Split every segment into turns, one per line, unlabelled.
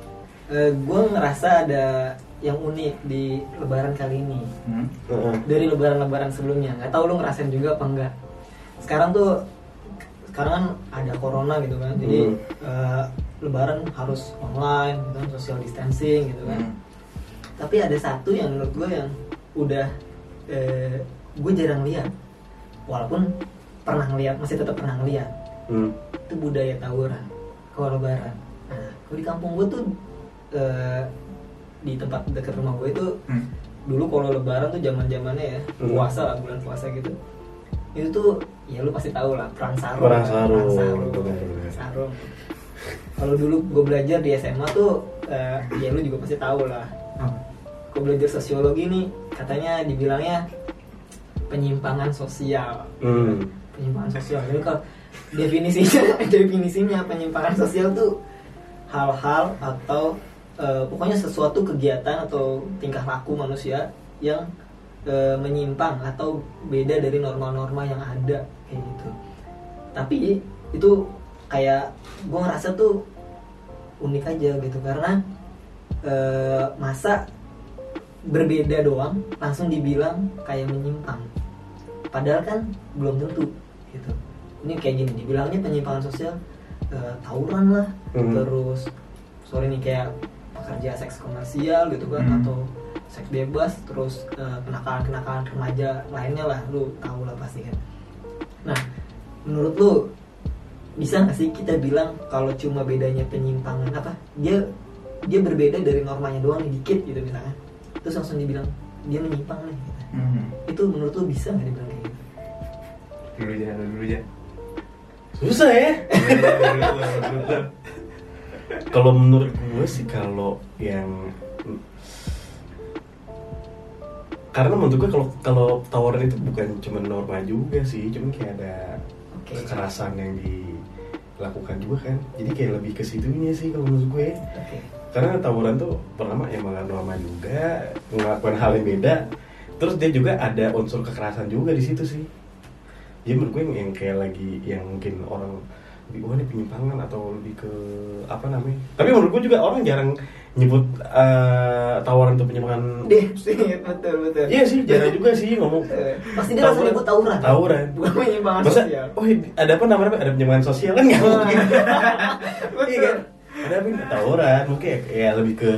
gue Eh, ngerasa ada yang unik di Lebaran kali ini
Hmm.
Heeh.
dari Lebaran-Lebaran sebelumnya. Nggak tahu lu ngerasain juga apa enggak. Sekarang tuh sekarang kan ada corona gitu kan, jadi
Hmm.
eh, Lebaran harus online, gitu kan, social distancing gitu kan.
Hmm.
Tapi ada satu yang menurut gue yang udah eh, gue jarang lihat, walaupun pernah ngeliat masih tetap pernah ngeliat
Hmm.
itu budaya tawuran kalau lebaran nah kalau di kampung gue tuh eh, di tempat dekat rumah gue itu
Hmm.
dulu kalau lebaran tuh zaman zamannya ya
Hmm.
puasa lah bulan puasa gitu itu tuh ya lu pasti tahu lah perang sarung
Perang
kan,
sarung,
perang sarung,
betul, betul.
perang sarung. kalau dulu gue belajar di SMA tuh eh, ya lu juga pasti tahu lah
Hmm.
gue belajar sosiologi nih katanya dibilangnya penyimpangan sosial
Hmm.
penyimpangan sosial jadi kalau definisinya definisinya penyimpangan sosial tuh hal-hal atau eh, pokoknya sesuatu kegiatan atau tingkah laku manusia yang eh, menyimpang atau beda dari norma-norma yang ada kayak gitu tapi itu kayak gue ngerasa tuh unik aja gitu karena eh, masa berbeda doang langsung dibilang kayak menyimpang padahal kan belum tentu gitu ini kayak gini dibilangnya penyimpangan sosial eh, tawuran lah
Mhm.
terus sore nih kayak pekerja seks komersial gitu kan
Mhm.
atau seks bebas terus eh, kenakalan-kenakalan remaja lainnya lah lu tau lah pasti kan nah menurut lu bisa nggak sih kita bilang kalau cuma bedanya penyimpangan apa dia dia berbeda dari normanya doang nih, dikit gitu misalnya terus langsung dibilang dia menyimpang nih gitu.
Hmm.
itu menurut lu bisa nggak dibilang kayak gitu
Dulu aja, dulu aja.
Susah ya.
Dulu, dulu, dulu, dulu.
Kalau menurut gue sih kalau yang karena menurut gue kalau kalau tawaran itu bukan cuma norma juga sih, cuman kayak ada
oke
kekerasan yang dilakukan juga kan. Jadi kayak lebih ke situnya sih kalau menurut gue.
oke
Karena tawuran tuh pertama emang norma juga, melakukan hal yang beda. Terus dia juga ada unsur kekerasan juga di situ sih. Jadi menurut gue yang, yang kayak lagi yang mungkin orang lebih wah ini penyimpangan atau lebih ke apa namanya. Tapi menurut gue juga orang jarang nyebut eh, tawaran untuk penyimpangan.
deh sih betul betul
Iya sih, jarang juga sih ngomong.
Eh, pasti dia langsung nyebut tawuran
Tawuran.
bukan penyimpangan
Masa,
sosial
oh ada apa namanya? Ada penyimpangan sosial kan nggak mungkin. Iya kan? Ada apa ini? Tawuran mungkin ya, ya lebih ke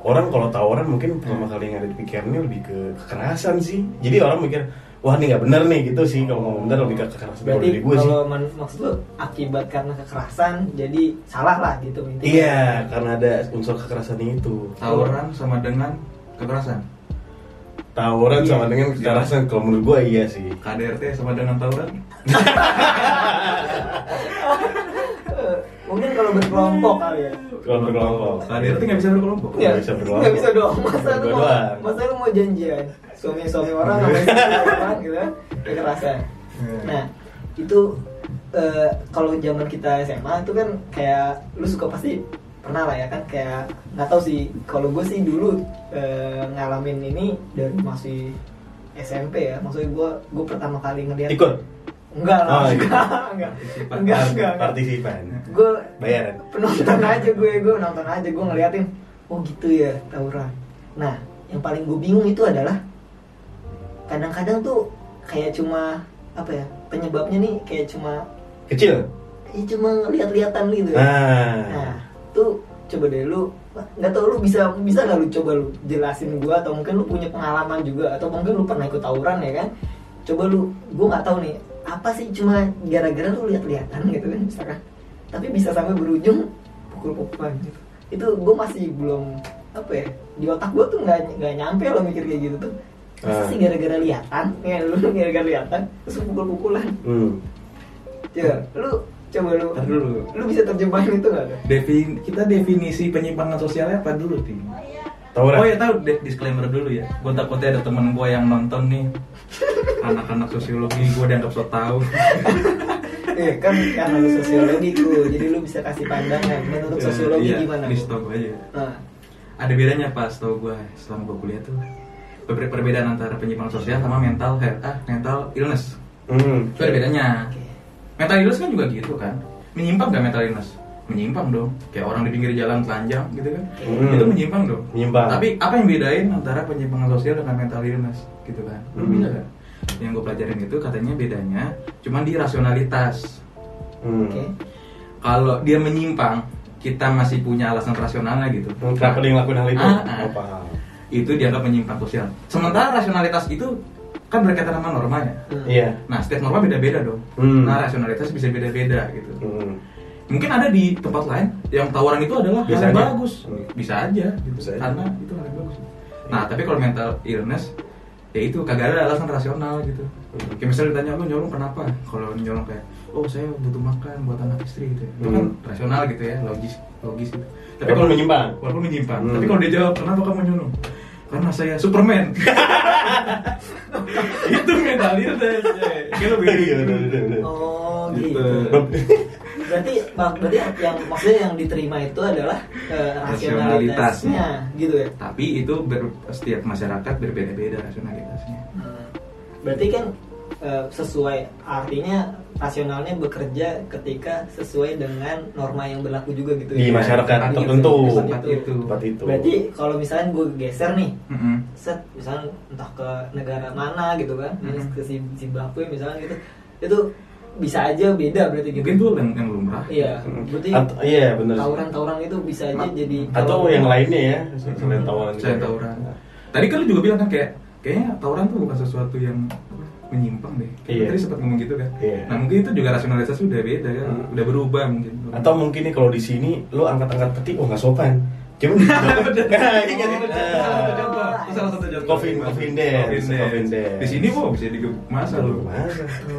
orang kalau tawuran mungkin pertama kali yang ada di pikirannya lebih ke kekerasan sih. Jadi orang mikir wah ini nggak bener nih gitu sih kalau mau bener lebih ke kekerasan kalau
berarti
dari gue sih.
kalau man- maksud lu akibat karena kekerasan jadi salah lah gitu intinya.
Iya karena ada unsur kekerasan itu.
Tawuran sama dengan kekerasan.
Tawuran
Iya.
sama dengan kekerasan kalau menurut gue iya sih.
KDRT sama dengan tawuran.
Eh, mungkin kalau berkelompok kali ya
Kalau berkelompok.
KDRT nggak bisa berkelompok.
Iya.
Nggak bisa berkelompok.
nggak bisa doang masa lu mau
Berdoa.
masa lu mau janjian suami suami orang sama istri orang gitu kan kekerasan
Iya.
Nah, itu eh, kalau zaman kita SMA itu kan kayak lu suka pasti pernah lah ya kan kayak nggak tahu sih kalau gue sih dulu eh, ngalamin ini dari masih SMP ya maksudnya gue gue pertama kali ngeliat
Ikut.
enggak lah
Oh,
enggak, enggak
Partisipan.
enggak enggak
Partisipan.
gue
Bayaran.
penonton aja gue gue nonton aja gue ngeliatin oh gitu ya tawuran nah yang paling gue bingung itu adalah kadang-kadang tuh kayak cuma apa ya penyebabnya nih kayak cuma
Kecil.
ya cuma lihat-lihatan gitu ya. nah
Nah.
tuh coba deh lu nggak tau lu bisa bisa nggak lu coba lu jelasin gue atau mungkin lu punya pengalaman juga atau mungkin lu pernah ikut tawuran ya kan coba lu gue nggak tahu nih apa sih cuma gara-gara lu lihat-lihatan gitu kan misalkan tapi bisa sampai berujung pukul-pukulan gitu itu gue masih belum apa ya di otak gue tuh nggak nggak nyampe lo mikir kayak gitu tuh masa
Ah.
sih gara-gara lihatan ya lu gara-gara lihatan terus pukul-pukulan
Hmm.
coba lu coba lu
Ntar dulu.
lu bisa terjemahin itu nggak ada
Defin kita definisi penyimpangan sosialnya apa dulu, Tim?
Tawuran.
Oh ya tahu de- disclaimer dulu ya. Gue takutnya ada teman gue yang nonton nih. Anak-anak sosiologi gue dianggap so tahu.
Iya kan karena lu sosiologi tuh, jadi lu bisa kasih pandangan menurut sosiologi
Iya,
gimana?
Di
Bu?
stok aja.
Nah,
Ada bedanya pas tau gue selama gue kuliah tuh. Beber- Perbedaan antara penyimpangan sosial sama mental health, ah, mental illness.
Hmm.
Itu ada bedanya.
oke.
Mental illness kan juga gitu kan. Menyimpang gak mental illness? menyimpang dong kayak orang di pinggir jalan telanjang gitu kan
Hmm.
itu menyimpang dong
Menyimpang.
tapi apa yang bedain antara penyimpangan sosial dengan mental illness gitu kan lu
Hmm.
bisa kan yang gue pelajarin itu katanya bedanya cuman di rasionalitas
Hmm.
Oke. Ah.
kalau dia menyimpang kita masih punya alasan rasionalnya gitu
Hmm, Kenapa dia ngelakuin hal itu?
Ah, ah.
Oh, paham.
itu dianggap menyimpang sosial sementara rasionalitas itu kan berkaitan sama norma ya
Hmm.
Iya.
nah setiap norma beda-beda dong
Hmm.
nah rasionalitas bisa beda-beda gitu
Hmm.
mungkin ada di tempat lain yang tawaran itu adalah hal
Bisa
yang
aja.
bagus
Hmm.
bisa aja gitu
Bisa aja.
karena itu hal yang bagus nah tapi kalau mental illness ya itu kagak ada alasan rasional gitu
Hmm.
kayak misalnya ditanya lu nyolong kenapa kalau nyolong kayak oh saya butuh makan buat anak istri gitu ya Itu kan
Hmm.
rasional gitu ya logis logis gitu tapi
Walaupun
kalau
menyimpang.
walaupun menyimpang
Hmm.
tapi kalau dia jawab kenapa kamu nyolong karena saya Superman itu mental illness ya. kayak lebih
Iya, udah, udah, udah.
Oh
Iya.
gitu.
Gitu.
Berarti berarti yang maksudnya yang diterima itu adalah eh, rasionalitasnya gitu ya.
tapi itu ber- setiap masyarakat berbeda-beda rasionalitasnya
Hmm. Berarti kan eh, sesuai artinya rasionalnya bekerja ketika sesuai dengan norma yang berlaku juga gitu
Di
ya.
masyarakat
Gitu,
tertentu.
di
Tempat itu.
Tempat itu.
Berarti kalau misalnya gue geser nih
Mm-mm.
set misalnya entah ke negara mana gitu kan
Mhm.
ke si Zimbabwe misalnya gitu itu bisa aja beda berarti gitu
mungkin tuh yang, yang lumrah
iya
Hmm.
berarti
Atau- iya benar.
tawuran-tawuran itu bisa aja
Ma-
jadi
Atau
kalau-
yang lainnya ya, selain tawuran. gitu ya. juga.
saya Hmm. tawuran tadi kan lu juga bilang kan kayak kayaknya tawuran tuh bukan sesuatu yang apa, menyimpang deh
Iya.
tadi sempat ngomong gitu kan
Iya.
nah mungkin itu juga rasionalitas udah beda kan
Hmm.
udah berubah mungkin
Atau mungkin nih kalau di sini lu angkat-angkat peti oh nggak sopan. Cuma di iya,
Nah, ini kan
Oh,
itu
bener.
salah satu contoh. Itu salah satu contoh.
Covid- Covid dance. Covid dance.
Di sini kok bisa digem masa
Oh,
lu?
gitu.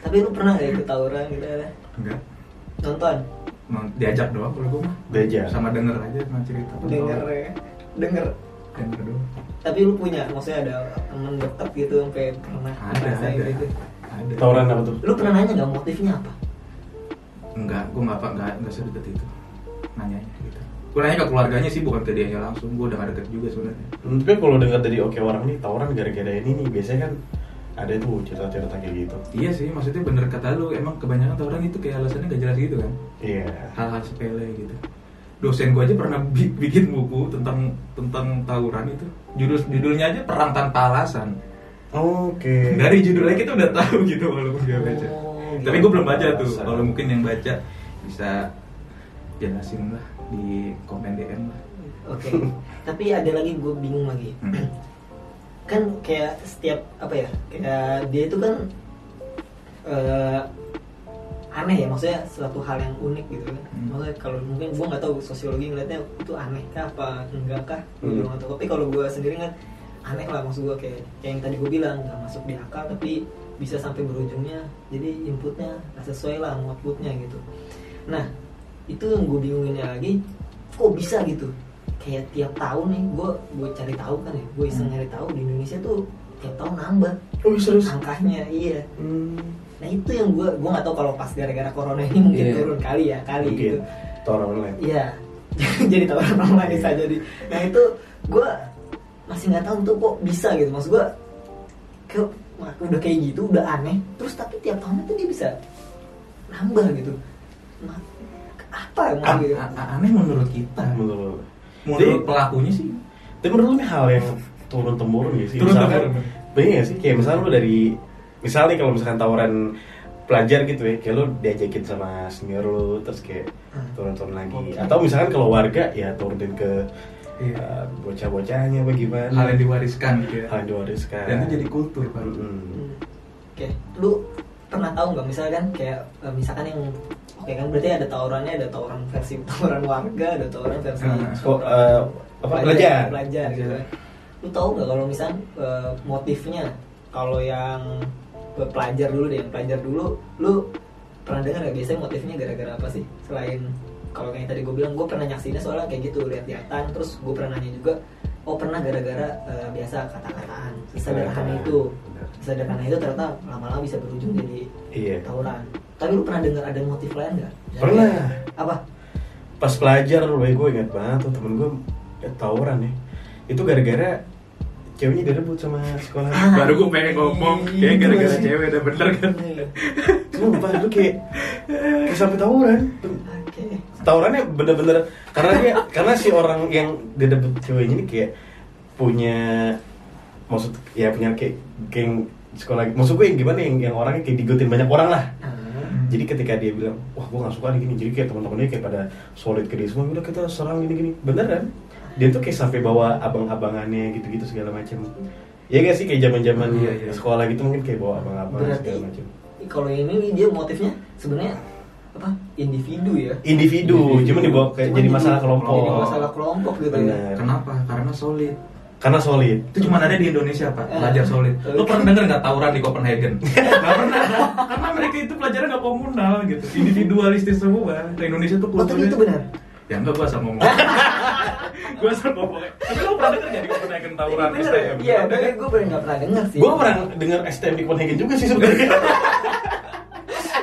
tapi lu pernah gak ikut tawuran gitu
Enggak.
nonton
Emang Diajak doang kalau gua mah.
Diajak.
Sama denger aja sama cerita.
denger ya denger
Denger doang.
tapi lu punya maksudnya ada temen deket gitu sampai pernah
Ada, ada.
ngerasain gitu
Ada.
Tawuran apa tuh?
lu pernah nanya gak motifnya apa
Enggak, gue nggak apa nggak nggak sedekat itu. Nanyanya gitu. Gue nanya ke keluarganya sih, bukan ke dia langsung. Gue udah nggak deket juga sebenarnya.
Hmm, Tapi kalau dengar dari oke orang nih tawuran gara-gara ini nih biasanya kan ada tuh cerita-cerita kayak gitu.
Iya sih, maksudnya bener kata lu. Emang kebanyakan tawuran itu kayak alasannya gak jelas gitu kan?
Iya.
Hal-hal sepele gitu. Dosen gue aja pernah bi- bikin buku tentang tentang tawuran itu. Judul judulnya aja perang tanpa alasan.
Oke.
Dari judulnya kita udah tahu gitu walaupun dia baca.
Oh,
Tapi
gitu.
gue
iya.
belum baca tuh.
Alasan.
Kalau mungkin yang baca bisa jelasin lah di komen DM lah.
Oke, tapi ada lagi gue bingung lagi.
Hmm.
kan kayak setiap apa ya? Kayak dia itu kan eh, aneh ya, maksudnya suatu hal yang unik gitu kan.
Hmm.
Maksudnya kalau mungkin gue nggak tahu sosiologi ngeliatnya itu aneh kah apa enggak kah? Gue
Hmm.
juga nggak tahu. Tapi kalau gue sendiri kan aneh lah maksud gue kayak kayak yang tadi gue bilang nggak masuk di akal tapi bisa sampai berujungnya jadi inputnya nggak sesuai lah sama outputnya gitu nah itu yang gue bingunginnya lagi kok bisa gitu kayak tiap tahun nih gue gue cari tahu kan ya gue iseng
Hmm.
nyari tahu di Indonesia tuh tiap tahun nambah
Oh serius?
angkanya iya
Hmm.
nah itu yang gue gue nggak tahu kalau pas gara-gara corona ini mungkin
Iya.
turun kali ya kali
Mungkin
gitu
tawuran online.
Iya. jadi tawaran online bisa jadi. Nah itu gue masih nggak tahu tuh kok bisa gitu. Maksud gue kayak wah, udah kayak gitu udah aneh. Terus tapi tiap tahunnya tuh dia bisa nambah gitu. Ma- apa ya
A-
maksud gitu?
a- a- aneh menurut kita.
Menurut.
Menurut
Hmm. Jadi-
pelakunya sih
Tapi menurut lu ini hal yang turun temurun ya sih?
Turun-temurun.
Misalkan, iya nggak sih? Kayak misalnya lu dari misalnya nih kalau misalkan tawaran pelajar gitu ya, kayak lu diajakin sama senior lu terus kayak
Hmm.
turun-turun lagi.
Oke.
Atau misalkan kalau warga ya turunin ke
Iya.
uh, bocah-bocahnya bagaimana?
hal yang diwariskan gitu ya.
hal yang diwariskan.
Dan itu jadi kultur baru.
Mm-mm.
Hmm. Oke, lu pernah tahu nggak misalkan kayak eh, misalkan yang oke kan berarti ada tawurannya ada tawuran versi tawuran warga ada tawuran versi
Hmm.
Sko- eh, apa, pelajar? Iya.
pelajar gitu kan. lu tahu nggak kalau misalkan eh, motifnya kalau yang ke pelajar dulu deh yang pelajar dulu lu pernah dengar nggak biasanya motifnya gara-gara apa sih selain kalau kayak tadi gue bilang gue pernah nyaksinnya soalnya kayak gitu lihat lihatan terus gue pernah nanya juga oh pernah gara-gara eh, biasa kata-kataan sesederhana
Kata-kataan.
itu
Iya. Benar.
sederhana itu ternyata lama-lama bisa berujung jadi
Iya.
tawuran tapi lu pernah dengar ada motif lain nggak Misalnya
Pernah.
kayak, apa
pas pelajar loh gue ingat banget tuh temen gue eh, tawuran ya itu gara-gara ceweknya direbut sama sekolah
Iya, Baru gue pengen ngomong, kayak gara-gara cewek udah bener kan?
kenapa lu kayak kayak sampai tawuran
Oke.
tawurannya bener-bener karena dia karena si orang yang dia dapet ceweknya ini kayak punya maksud ya punya kayak geng sekolah maksud gue yang gimana yang, yang orangnya kayak digotin banyak orang lah
Nah,
jadi ketika dia bilang wah gue gak suka nih gini jadi kayak teman-temannya kayak pada solid ke dia semua udah kita serang gini gini bener kan dia tuh kayak sampai bawa abang-abangannya gitu-gitu segala macam ya gak sih kayak zaman-zaman
Iya, iya.
sekolah gitu mungkin kayak bawa abang-abang
Berarti
segala macam
kalau ini dia motifnya sebenarnya apa? Individu ya.
individu,
Individu.
cuman dibawa Iya. kayak
Cuma
jadi masalah kelompok Iya.
Jadi masalah kelompok gitu ya.
Benar.
Kenapa? Karena solid.
karena solid
Itu cuma ada di Indonesia, Pak.
Eh.
Pelajar solid. Lu
Oke.
pernah denger nggak tawuran di Copenhagen? Nggak pernah. kan? Karena mereka itu pelajaran nggak komunal gitu. Individualistis semua. Nah, Indonesia tuh
Oh, tapi
kulturnya-
itu benar.
Ya enggak gua asal ngomong. gua asal ngomong. Tapi lu pernah denger nggak di Copenhagen tawuran
Tapi bener,
STM?
Iya, tapi gue pernah nggak pernah dengar sih.
gue ya? pernah dengar STM di Copenhagen juga sih sebenarnya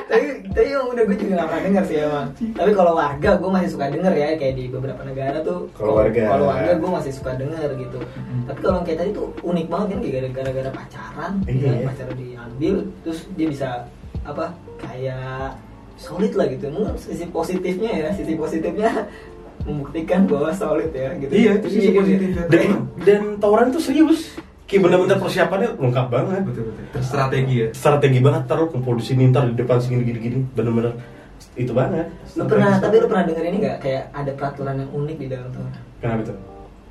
tapi tapi yang udah gue juga nggak pernah dengar sih emang. Tapi kalau warga gue masih suka denger ya kayak di beberapa negara tuh.
Kalau warga.
Kalau warga gue masih suka denger gitu. Tapi kalau yang kayak tadi tuh unik banget kan kayak gara- gara-gara pacaran,
Iya,
ya,
iya.
pacaran diambil, terus dia bisa apa kayak solid lah gitu. Mungkin sisi positifnya ya, sisi positifnya membuktikan bahwa solid ya gitu.
Iya, itu
gitu
sisi
ya.
positifnya.
dan, dan tawuran tuh serius kayak bener-bener persiapannya lengkap banget
Betul betul. Terstrategi ya.
strategi banget taruh kumpul di sini ntar di depan segini gini gini bener-bener itu banget
Lu pernah tapi lu pernah denger ini nggak kayak ada peraturan yang unik di dalam tuh?
kenapa tuh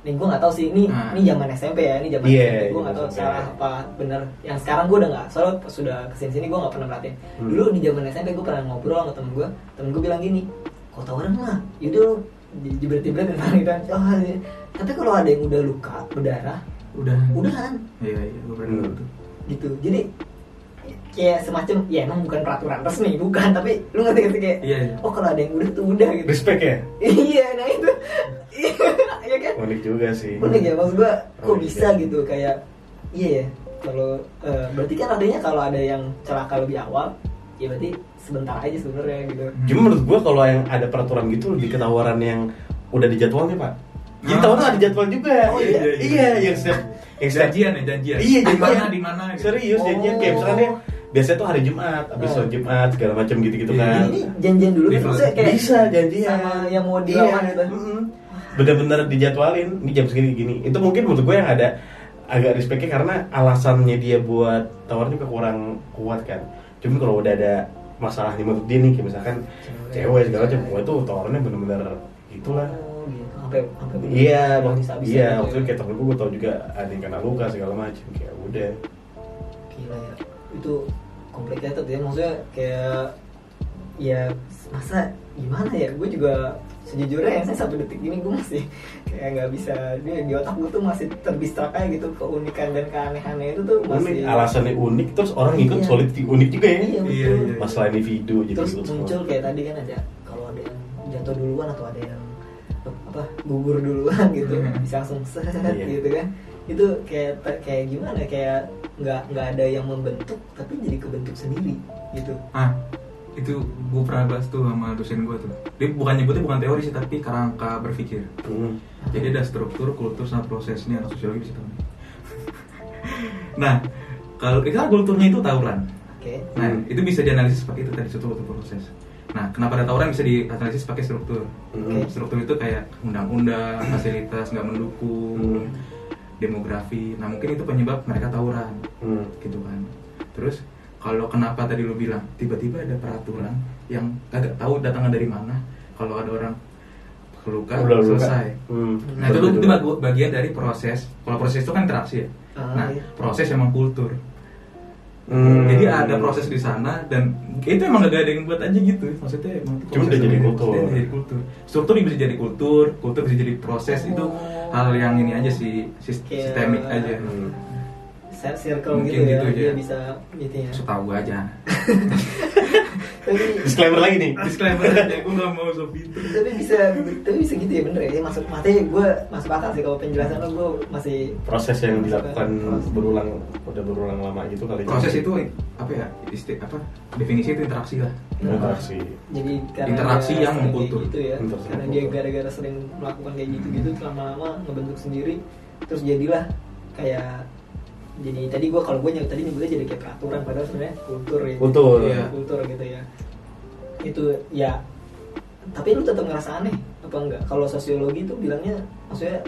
Nih gue gak tahu sih, ini
Nah.
ini zaman SMP ya, ini zaman
Iya,
SMP gue
zaman
gak tahu
SMP.
salah apa bener. Yang sekarang gue udah gak, soalnya pas sudah kesini sini gue gak pernah merhatiin.
Hmm.
Dulu di zaman SMP gue pernah ngobrol sama temen gue, temen gue bilang gini, kau tawuran lah, yaudah lu jibret-jibret dan gitu kan. Oh, iya. tapi kalau ada yang udah luka berdarah,
Udah.
udahan
Iya iya. Gua pernah denger tuh.
gitu. Jadi kayak semacam ya emang bukan peraturan resmi bukan tapi lu ngerti ngerti kayak
Iya, iya.
oh kalau ada yang udah tuh udah gitu
respect ya
iya nah itu iya kan
unik juga sih
Unik ya maksud gua kok
Unik
bisa
ya.
gitu kayak iya ya kalau eh, berarti kan artinya kalau ada yang celaka lebih awal ya berarti sebentar aja sebenarnya gitu.
cuma menurut gua kalau yang ada peraturan gitu lebih ke tawaran yang udah dijadwalnya pak jadi
Ah.
tawaran ada jadwal juga
Oh, iya, iya, iya.
yang setiap yang setiap
Janjian ya janjian.
Iya,
di
janjian.
mana di mana. gitu.
serius
Oh.
janjian kayak misalkan ya biasanya tuh hari Jumat abis
Ah.
sholat Jumat segala macam gitu gitu
Iya.
kan
Ini janjian dulu kan
Di-
maksudnya kayak
bisa janjian
sama yang mau dilawan
Iya,
gitu.
mm-mm. bener-bener dijadwalin ini jam segini gini itu mungkin menurut gue yang ada agak respectnya karena alasannya dia buat tawarnya juga kurang kuat kan cuma kalau udah ada masalahnya menurut dia nih kayak misalkan
Cewek.
cewek segala macam wah itu tawarannya bener-bener itulah
Oh, gitu. Sampai sampai
Iya, mak-
habis-habisan
iya,
gitu
waktu
ya.
itu kayak temen gue, gue tau juga ada yang kena luka segala macam kayak udah
gila ya itu complicated ya maksudnya kayak ya masa gimana ya gue juga sejujurnya yang saya satu detik ini gue masih kayak nggak bisa di, di otak gue tuh masih terdistrak aja gitu keunikan dan keanehannya itu tuh
unik,
masih
alasannya unik, terus orang ngikut
Iya.
solid unik juga ya
iya,
Iya,
betul.
iya.
masalah individu jadi
terus
ikut semua.
muncul kayak tadi kan ada kalau ada yang jatuh duluan atau ada yang apa gugur duluan gitu
Mhm.
bisa langsung set
Iya.
gitu kan itu kayak kayak gimana kayak nggak nggak ada yang membentuk tapi jadi kebentuk sendiri gitu
Ah, itu gue pernah bahas tuh sama dosen gue tuh. Dia bukan nyebutnya bukan teori sih, tapi kerangka berpikir.
Hmm.
Jadi ada struktur, kultur, sama prosesnya anak sosiologi di situ. nah, kalau itu kan kulturnya itu tawuran.
Oke.
Nah,
Hmm.
itu bisa dianalisis pakai itu tadi struktur atau proses. Nah, kenapa ada tawuran bisa dianalisis pakai struktur?
Hmm.
Struktur itu kayak undang-undang, fasilitas nggak mendukung,
Hmm.
demografi. Nah, mungkin itu penyebab mereka tawuran
Hmm.
gitu kan terus kalau kenapa tadi lu bilang tiba-tiba ada peraturan yang agak tahu datangnya dari mana kalau ada orang keluka
Udah luka.
Kan selesai
Hmm.
nah itu tuh itu bag- bagian dari proses kalau proses itu kan interaksi ya
Ah,
nah
iya.
proses emang kultur
Hmm.
jadi ada proses di sana dan itu emang gak ada yang buat aja gitu maksudnya emang itu
Cuma udah
proses
jadi
sendiri.
kultur.
Maksudnya jadi kultur struktur bisa jadi kultur kultur bisa jadi proses itu
Oh.
hal yang ini aja sih sis-
Kayak-
sistemik aja
Hmm.
Set circle gitu
Mungkin
ya,
gitu,
dia
ya.
bisa gitu ya.
setahu gua aja
Tapi
Disclaimer lagi nih.
disclaimer aja gue gak mau sob itu
tapi bisa tapi bisa gitu ya bener ya masuk matanya gue masuk akal sih kalau penjelasan lo gue masih
Proses yang dilakukan
Proses.
berulang udah berulang lama gitu kali.
proses itu apa ya isti, apa definisi itu interaksi lah
interaksi.
jadi karena
Interaksi
dia sering
yang
kayak
memkultur.
gitu ya
Interaksi
karena dia
memkultur.
gara-gara sering melakukan kayak gitu gitu lama-lama ngebentuk sendiri terus jadilah kayak jadi tadi gue kalau gue nyebut tadi nyebutnya jadi kayak peraturan padahal sebenarnya kultur ya
Kultur.
Iya.
kultur gitu ya itu ya tapi lu tetap ngerasa aneh apa enggak kalau sosiologi itu bilangnya maksudnya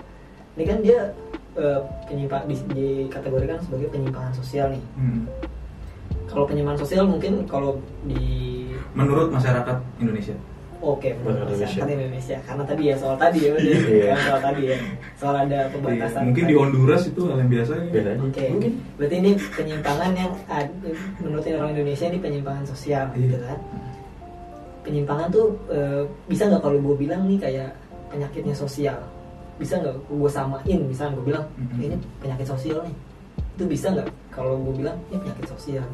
ini kan dia eh, penyimpa- di- dikategorikan sebagai penyimpangan sosial nih
Hmm.
kalau penyimpangan sosial mungkin kalau di
Menurut masyarakat Indonesia.
Oke, menurut
Menurut
masyarakat
Indonesia.
Indonesia. Karena tadi ya soal tadi ya, udah.
Iya.
Karena soal tadi ya, soal ada pembatasan.
Iya, mungkin di
tadi.
Honduras itu hal yang biasa ya.
Beda aja.
Oke,
Mungkin.
berarti ini penyimpangan yang ad- menurut orang Indonesia ini penyimpangan sosial,
Iya.
gitu kan? Penyimpangan tuh eh, bisa nggak kalau gue bilang nih kayak penyakitnya sosial? Bisa nggak gue samain? Misalnya gue bilang
Mhm.
ini penyakit sosial nih, itu bisa nggak kalau gue bilang ini penyakit sosial?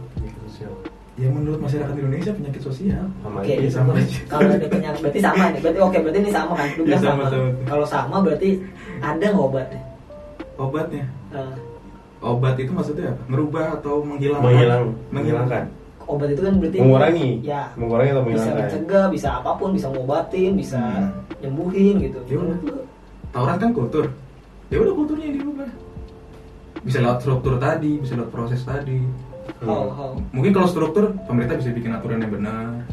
Ya menurut masyarakat Indonesia penyakit sosial.
Sama
Oke,
aja.
Iya, sama
terus
aja.
kalau ada penyakit berarti sama nih. Berarti oke, berarti ini sama kan? Lu
Iya,
bilang sama.
sama, sama.
Kalau sama berarti ada nggak obatnya?
Obatnya.
Eh,
Obat itu maksudnya apa? Merubah atau menghilangkan?
Menghilang,
Menghilangkan.
menghilangkan,
obat itu kan berarti
mengurangi,
Ya.
mengurangi atau
Bisa
menghilangkan.
mencegah, bisa apapun, bisa ngobatin, bisa
Hmm.
nyembuhin gitu.
Ya udah. Tauran kan kultur. Ya udah kulturnya yang dirubah. Bisa lewat struktur tadi, bisa lewat proses tadi.
Hmm.
How, how.
Mungkin kalau struktur pemerintah bisa bikin aturan yang benar.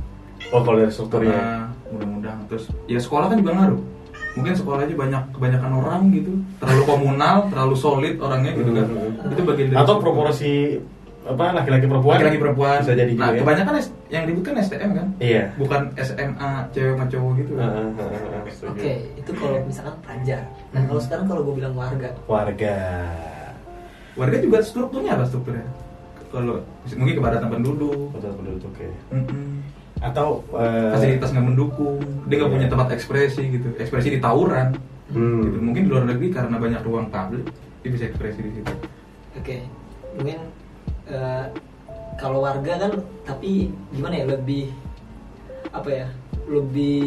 Oh kalau dari
karena
strukturnya,
undang-undang terus ya sekolah kan juga ngaruh mungkin sekolah aja banyak kebanyakan orang gitu terlalu komunal terlalu solid orangnya gitu kan
Hmm.
itu bagian dari
atau proporsi apa laki-laki perempuan?
laki-laki perempuan
bisa jadi gitu
nah
ya.
kebanyakan S- yang ributkan STM kan
Iya.
bukan SMA cewek sama cowok gitu kan
Heeh, heeh, heeh, setuju.
Oke, itu kalau misalkan pelajar. Nah, kalau sekarang kalau gue bilang warga,
Warga.
warga juga strukturnya apa strukturnya kalau mungkin kepadatan penduduk
Kota penduduk ya.
mm-mm.
Atau eh,
fasilitas nggak mendukung dia nggak
Iya.
punya tempat ekspresi gitu ekspresi di tawuran
hmm,
gitu mungkin di luar negeri karena banyak ruang publik dia bisa ekspresi di situ
oke, mungkin eh, kalau warga kan, tapi gimana ya lebih apa ya? lebih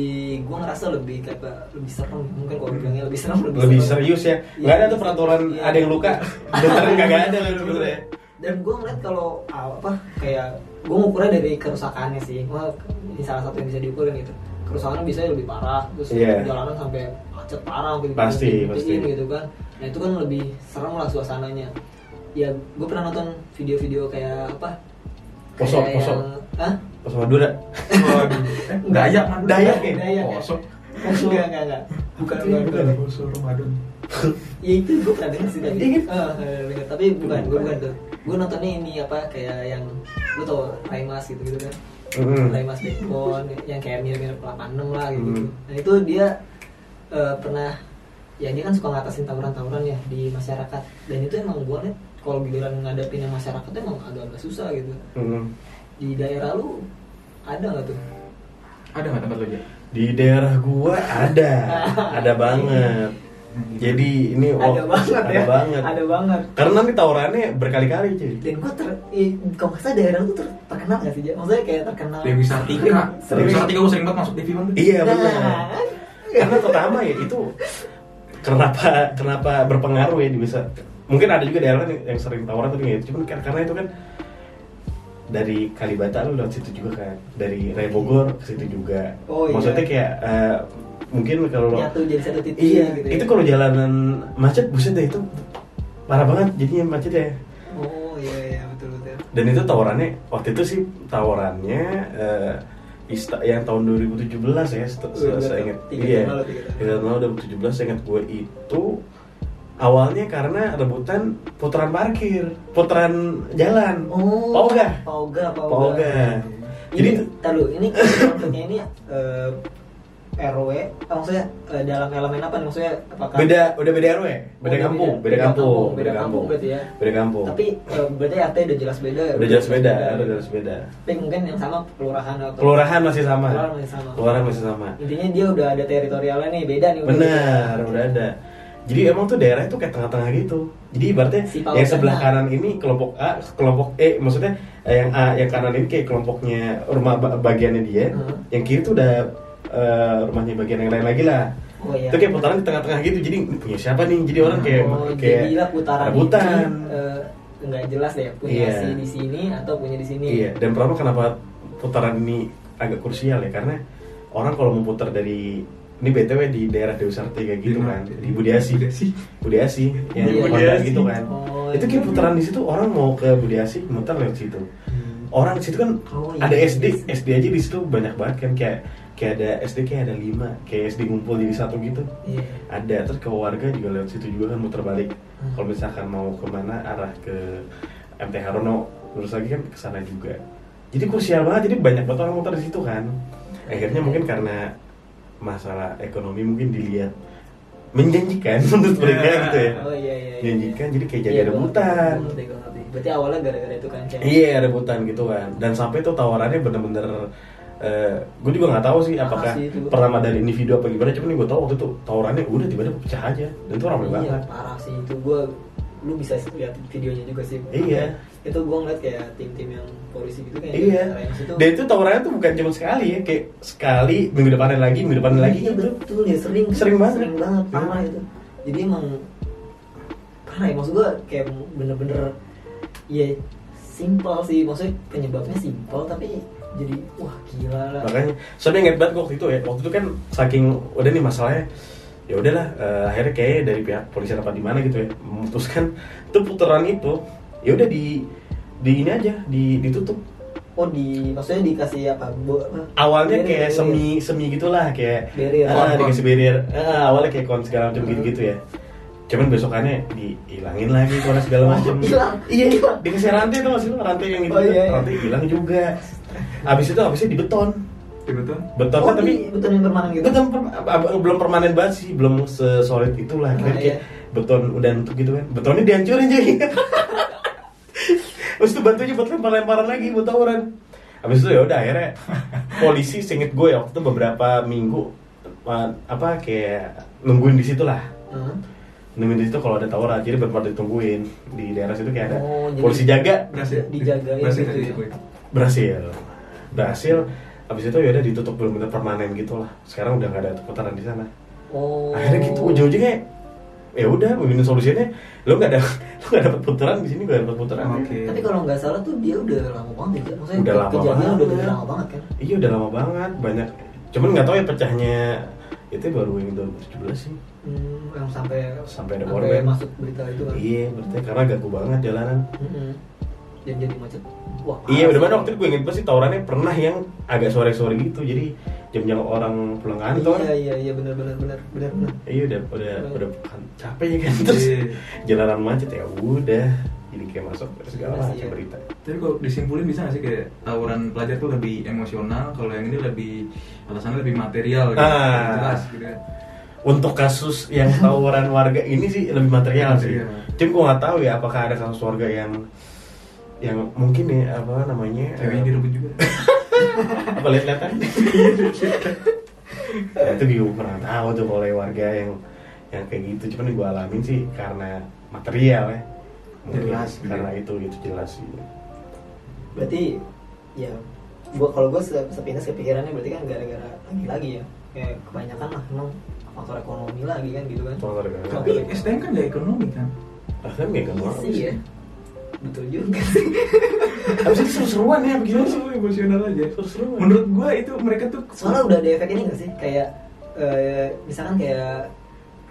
gue ngerasa lebih kayak apa, lebih serem mungkin kalau bilangnya lebih serem lebih,
lebih
serem.
serius ya.
Gitu. Iya,
Nggak ada tuh
lebih
peraturan
serius.
ada yang luka. Dokter nggak ada lah sebenarnya.
gitu. dan gue ngeliat kalau ah, apa kayak gue ngukurnya dari kerusakannya sih gue ini salah satu yang bisa diukurin gitu kerusakannya bisa lebih parah terus
Iya.
jalanan sampai macet parah sampai
Pasti,
dibikin-
pasti.
dibikin gitu kan nah itu kan lebih serem lah suasananya ya gue pernah nonton video-video kayak apa
Kosong,
Kayak
kosong.
yang- Hah?
Pas Madura.
Waduh. Eh, Dayak Madura.
Dayak ya?
Dayak ya?
Kosong.
Enggak, enggak, enggak. Bukan, bukan, bukan.
Kosong Ramadan.
Ya itu gue pernah denger sih tadi.
Iya
Eh, eh, denger. tapi bukan, gue bukan tuh. Gue nontonnya ini apa kayak yang lu tau Raimas gitu gitu kan.
Mm-mm.
mulai Mas Dekon yang kayak mirip-mirip 86 lah gitu.
Hmm.
Nah itu dia eh, pernah ya dia kan suka ngatasin tawuran-tawuran ya di masyarakat dan itu emang gue liat kalau giliran ngadepin yang masyarakat tuh emang agak-agak susah gitu
Mm-mm.
di daerah lu ada nggak tuh
Ada nggak tempat lo aja?
Di daerah gua ada, ada banget. Jadi ini
Iya.
oh,
ada banget
ada
ya
banget.
ada banget
Karena nanti tawurannya berkali-kali cuy.
dan gue ter eh, kalau nggak salah daerah lu tuh ter- terkenal gak sih Ja? maksudnya kayak terkenal
Dewi Sartika.
Sering.
Dewi Sartika gue sering banget masuk TV banget.
Iya
Nah,
benar. Karena pertama ya itu kenapa kenapa berpengaruh ya di bisa mungkin ada juga daerah yang, yang sering tawuran tapi nggak itu cuman kar- karena itu kan dari Kalibata lu lewat situ juga kan dari Raya Bogor ke situ juga
Oh, iya.
maksudnya kayak eh, mungkin kalau
nyatu jadi satu titik
iya
gitu ya.
itu kalau jalanan macet buset deh itu parah banget jadinya macet ya
oh iya iya betul betul
dan itu tawarannya waktu itu sih tawarannya eh, Ista yang tahun 2017 ya se- se-
Udah,
saya ingat
tiga
iya
tahun lalu, tiga tahun
tiga tahun lalu 2017 saya ingat gue itu awalnya karena rebutan putaran parkir putaran jalan
Oh, Iya. Kan.
Pauga.
Pauga, Pauga.
Pauga.
Jadi,
Jadi
ini,
itu-
tar dulu, ini konfliknya ini eh, RW, eh, maksudnya eh, dalam elemen apa nih? Maksudnya apakah
beda udah beda RW beda
Oh,
kampung beda kampung beda kampung
berarti ya.
beda kampung
Tapi eh, berarti RT udah jelas beda. ya?
udah jelas beda udah jelas beda
Tapi mungkin yang sama kelurahan atau
kelurahan masih sama
Kelurahan masih sama.
kelurahan masih sama
Intinya dia udah ada teritorialnya nih, beda nih. udah
Benar, udah ada. Jadi emang tuh daerah itu kayak tengah-tengah gitu. Jadi ibaratnya
Si Palu
yang sebelah
kanan.
kanan ini kelompok A, kelompok E, maksudnya eh, yang A, yang kanan ini kayak kelompoknya rumah ba- bagiannya dia,
Hmm.
yang kiri tuh udah eh, rumahnya bagian yang lain lagi lah.
Oh iya.
Itu kayak putaran di tengah-tengah gitu. Jadi ini punya siapa nih? Jadi orang kayak
oh,
kayak
jadilah putaran.
rebutan.
ini, eh, nggak jelas ya punya
Iya.
si di sini atau punya di sini.
Iya, dan pertama kenapa putaran ini agak krusial ya karena orang kalau mau putar dari ini BTW gitu
Iya,
kan, di daerah Dewi Sartika gitu kan, di Budiasi. Budiasi yang
Budiasi.
Honda gitu kan.
Oh,
itu kayak putaran di situ orang mau ke Budi Asih muter lewat situ orang di situ kan
Oh, iya.
ada SD SD aja di situ banyak banget kan kayak kayak ada SD kayak ada lima kayak SD ngumpul jadi satu gitu
Iya.
ada terus ke warga juga lewat situ juga kan muter balik
Hmm.
kalau misalkan mau kemana arah ke MT Haryono terus lagi kan ke sana juga jadi krusial banget jadi banyak banget orang muter di situ kan akhirnya mungkin karena masalah ekonomi mungkin dilihat menjanjikan menurut mereka
Ya.
gitu ya
Oh iya iya. iya.
Menjanjikan, jadi kayak jadi
Iya,
ada
gua ngerti,
hutan.
gua ngerti, gua ngerti. Berarti awalnya gara-gara itu kan kayak.
Iya rebutan gitu kan dan sampai tuh tawarannya bener-bener gue juga nggak tahu sih
Mahal
apakah
sih itu.
pertama dari individu apa gimana cuman gue tahu waktu itu tawarannya udah tiba-tiba pecah aja dan tuh ramai
Iya,
banget
parah sih itu gua lu bisa lihat videonya juga sih.
Iya.
Itu gua ngeliat kayak tim-tim yang polisi gitu kayak
iya
keren sih
dan itu tawarannya tuh bukan cuma sekali ya kayak sekali minggu depannya lagi minggu depannya lagi
Iya,
gitu
betul ya sering
Sering banget. Iya.
sering banget
Sering
parah
banget.
itu jadi emang parah ya maksud gue kayak bener-bener ya simpel sih maksudnya penyebabnya simpel tapi jadi wah gila lah
makanya soalnya inget banget gua waktu itu ya waktu itu kan saking udah nih masalahnya ya udahlah eh, akhirnya kayaknya dari pihak polisi apa di mana gitu ya memutuskan tuh putaran itu ya udah di di ini aja di ditutup
oh di maksudnya dikasih apa bo- apa? Iya,
awalnya kayak
Barrier,
semi semi gitulah kayak
Barrier.
ah,
Kon-kon.
dikasih barrier Ah, awalnya kayak kon segala macam
Hmm.
gitu gitu ya cuman besokannya dihilangin lagi kon segala macam
Oh, hilang?
iya hilang. dikasih rantai tuh maksudnya rantai yang gitu
Oh, iya, iya.
rantai hilang juga abis itu abisnya di beton
Iya, betul
barrier.
beton
oh,
kan tapi
di- betul yang permanen gitu
itu kan per- ab- ab- belum permanen banget sih belum sesolid itulah
Nah,
Kira-kira
iya.
kayak beton udah nutup gitu kan betonnya dihancurin jadi Terus itu batunya buat lempar-lemparan lagi buat tawuran. Habis itu ya udah akhirnya polisi singkat gue ya waktu itu beberapa minggu ma- apa kayak nungguin di situ lah.
Hah?
Nungguin di situ kalau ada tawuran jadi benar ditungguin di daerah situ kayak ada
Oh, jadi-
polisi jaga
berhasil
Dijagain
berhasil
gitu
tadi
ya.
gue.
berhasil. Berhasil habis itu ya udah ditutup benar-benar permanen gitu lah. Sekarang udah nggak ada putaran di sana.
oh
akhirnya gitu ujung-ujungnya ya udah begini solusinya lo nggak ada lo nggak dapat putaran di sini gak dapat putaran ya.
oke
tapi kalau nggak salah tuh dia udah lama banget ya maksudnya
Udah
ke-
lama
kejadian
banget.
udah dari lama banget kan
iya udah lama banget banyak cuman nggak tahu ya pecahnya itu baru yang 2017 sih
hmm, yang sampai
Sampai ada
sampai
warning.
masuk berita itu kan
iya berarti karena ganggu banget jalanan
Mm-mm. Dan jadi macet. Wah. parah
iya udah
sih.
mana waktu itu gue inget banget sih tawurannya pernah yang agak sore-sore gitu jadi jam-jam orang pulang kantor
Iya iya iya benar benar benar benar benar.
iya udah udah
Iya.
udah kan- capek ya kan terus
Iya.
jalanan macet ya udah jadi kayak masuk segala
Iya sih,
macam
iya.
berita
Tapi kalau disimpulin bisa nggak sih kayak tawuran pelajar tuh lebih emosional, kalau yang ini lebih alasannya lebih material gitu.
Ah.
Jelas gitu ya.
untuk kasus yang tawuran warga ini sih lebih material sih.
Material.
Cuman gue nggak tahu ya apakah ada kasus warga yang yang mungkin ya apa namanya
Ceweknya direbut juga.
eh, apa lihat-lihatan? nah, itu gue pernah tahu tuh kalau yang warga yang yang kayak gitu. Cuman gue alamin sih karena material ya. Mungkin
Jelas, gitu.
karena itu itu jelas sih.
Berarti ya gua kalau gua se- sepintas kepikirannya berarti kan gara-gara lagi-lagi ya. Kayak kebanyakan lah emang faktor ekonomi lagi kan gitu kan.
Faktor ekonomi.
Tapi STM kan nggak ekonomi kan?
Bahkan gak
Iya
kenal.
sih ya. Betul juga sih.
Habis itu seru-seruan ya
Gila
begini
sih
sih.
emosional aja.
Seru-seruan.
Menurut gua itu mereka tuh
Soalnya udah ada efek ini gak sih? Kayak eh, misalkan kayak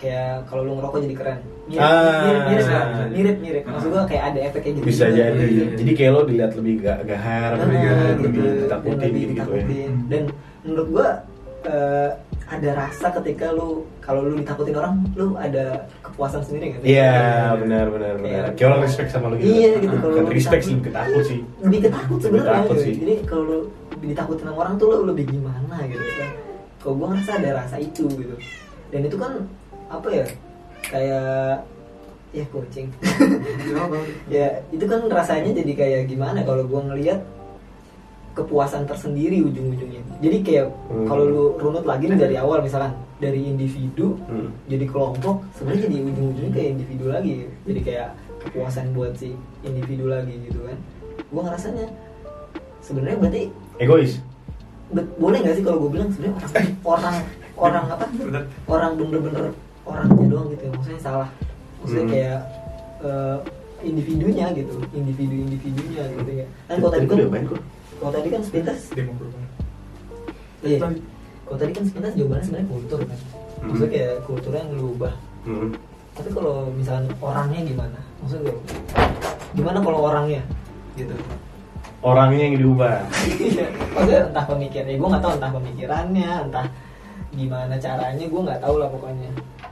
kayak kalau lu ngerokok jadi keren. Mirip, mirip,
Ah.
mirip, mirip,
Bisa.
mirip, mirip. Maksud gua kayak ada efek kayak gitu.
bisa
juga.
jadi
Iya, iya, iya.
jadi kayak lo dilihat lebih gak gahar
Karena
Ah, lebih
Iya,
gahar
gitu,
lebih
dan
ditakutin
lebih
gitu gitu ya
ditakutin. dan menurut gua eh, ada rasa ketika lu kalau lu ditakutin orang lu ada kepuasan sendiri nggak sih?
Iya
Iya.
benar benar benar.
Kayak-
Kayak orang respect sama lo gitu.
Iya gitu
Ah,
kalau
Bukan
lu
respect sih
ditakut-
lebih takut sih.
Lebih ketakut
Lebih
sebenarnya.
takut
gitu.
sih.
Jadi kalau lu ditakutin sama orang tuh lu lebih gimana gitu kan. Kalau gua ngerasa ada rasa itu gitu. Dan itu kan apa ya? Kayak ya kucing. ya itu kan rasanya jadi kayak gimana kalau gua ngelihat kepuasan tersendiri ujung-ujungnya jadi kayak
Hmm.
kalau lu runut lagi nih dari awal misalkan dari individu
Hmm.
jadi kelompok sebenarnya jadi ujung-ujungnya kayak individu lagi jadi kayak kepuasan buat si individu lagi gitu kan gua ngerasanya sebenarnya berarti
Egois.
be- boleh nggak sih kalau gue bilang sebenarnya
Eh.
orang orang orang apa
Bener.
orang bener-bener orangnya doang gitu ya maksudnya salah maksudnya
Hmm.
kayak eh, individunya gitu individu individunya gitu ya kan kalau tadi
Tadi
kan
udah main kok.
kalau tadi kan sepintas
demo perubahan.
iya kalau tadi kan sepintas jawabannya sebenarnya kultur kan maksudnya
Hmm.
kayak kulturnya yang lu ubah
Hmm.
tapi kalau misalnya orangnya gimana maksud gue gimana kalau orangnya gitu
orangnya yang diubah
Iya. maksudnya entah pemikirannya gue nggak tahu entah pemikirannya entah gimana caranya gue nggak tahu lah pokoknya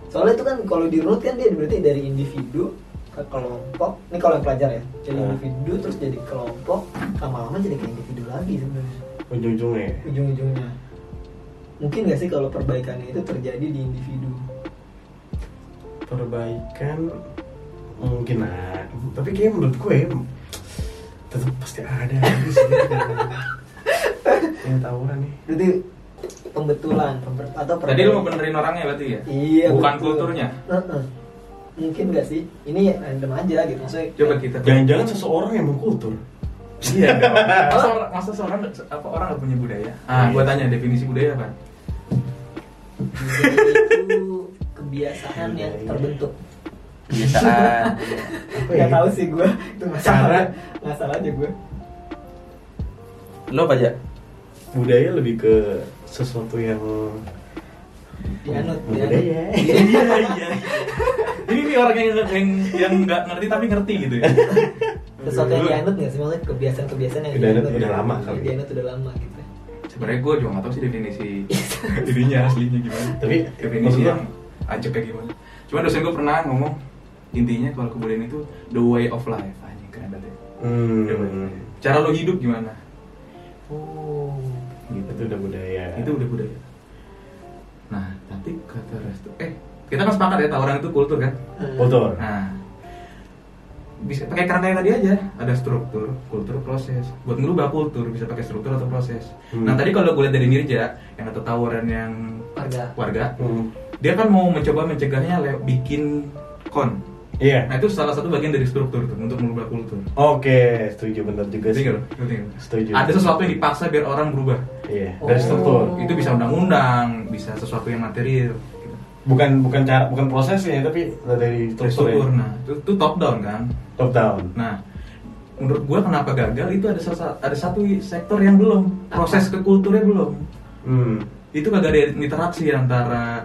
soalnya itu kan kalau dirunut kan dia berarti dari individu ke kelompok ini kalau yang pelajar ya jadi
Iya.
Hmm.
individu terus jadi kelompok lama-lama jadi ke individu lagi sebenarnya
ujung-ujungnya
ujung-ujungnya mungkin nggak sih kalau perbaikannya itu terjadi di individu
perbaikan mungkin ada tapi kayaknya menurut gue tetap pasti ada aja sih yang tawuran nih
berarti pembetulan pember- atau
Tadi lu mau
perbaikan.
benerin orangnya berarti ya?
iya
Bukan
betul.
kulturnya.
Heeh. mungkin nggak sih ini random aja gitu maksudnya
Coba kita.
jangan-jangan seseorang yang mengkultur
Iya. dong. masa, orang- masa seorang apa orang nggak punya budaya? Ah,
Iya.
gua tanya definisi budaya apa?
Budaya itu kebiasaan yang terbentuk
Kebiasaan.
Iya, apa ya
nggak tahu sih gue itu masalah masalah aja gue
Lo apa aja?
budaya lebih ke sesuatu yang
dianut dianut
budaya Iya,
Ini nih orang yang yang yang nggak ngerti tapi ngerti gitu ya.
sesuatu yang dianut nggak sih maksudnya kebiasaan-kebiasaan yang
Udah
dianut
anut udah lama kali.
dianut udah lama gitu
Sebenarnya gue juga nggak tahu sih definisi ininya aslinya gimana.
Tapi, maksud
definisi
gua-
yang ajak kayak gimana. Cuman dosen gue pernah ngomong intinya kalau kebudayaan itu the way of life. Anjing keren banget ya. The way of
hmm,
life. Cara lo hidup gimana?
oh
gitu itu udah budaya
itu udah budaya nah tapi kata resto eh kita kan sepakat ya tawuran itu kultur kan
kultur
nah bisa pakai karena yang tadi aja ada struktur kultur proses buat ngerubah kultur bisa pakai struktur atau proses
Hmm.
nah tadi kalau gue lihat dari Mirja yang atau tawuran yang
warga
warga
Hmm.
dia kan mau mencoba mencegahnya le- bikin kon
iya
nah itu salah satu bagian dari struktur tuh untuk merubah kultur
oke setuju benar juga sih
Ngerti nggak lo? Ngerti nggak lo?
Setuju.
Ada sesuatu yang dipaksa biar orang berubah.
iya dari struktur
Itu bisa undang-undang, bisa sesuatu yang material. gitu.
bukan bukan cara bukan prosesnya tapi dari
struktur
strukturnya
nah itu, itu top down kan
top down
nah menurut gua kenapa gagal itu ada sesa- ada satu sektor yang belum proses ke kulturnya belum
hmm.
itu kagak ada interaksi antara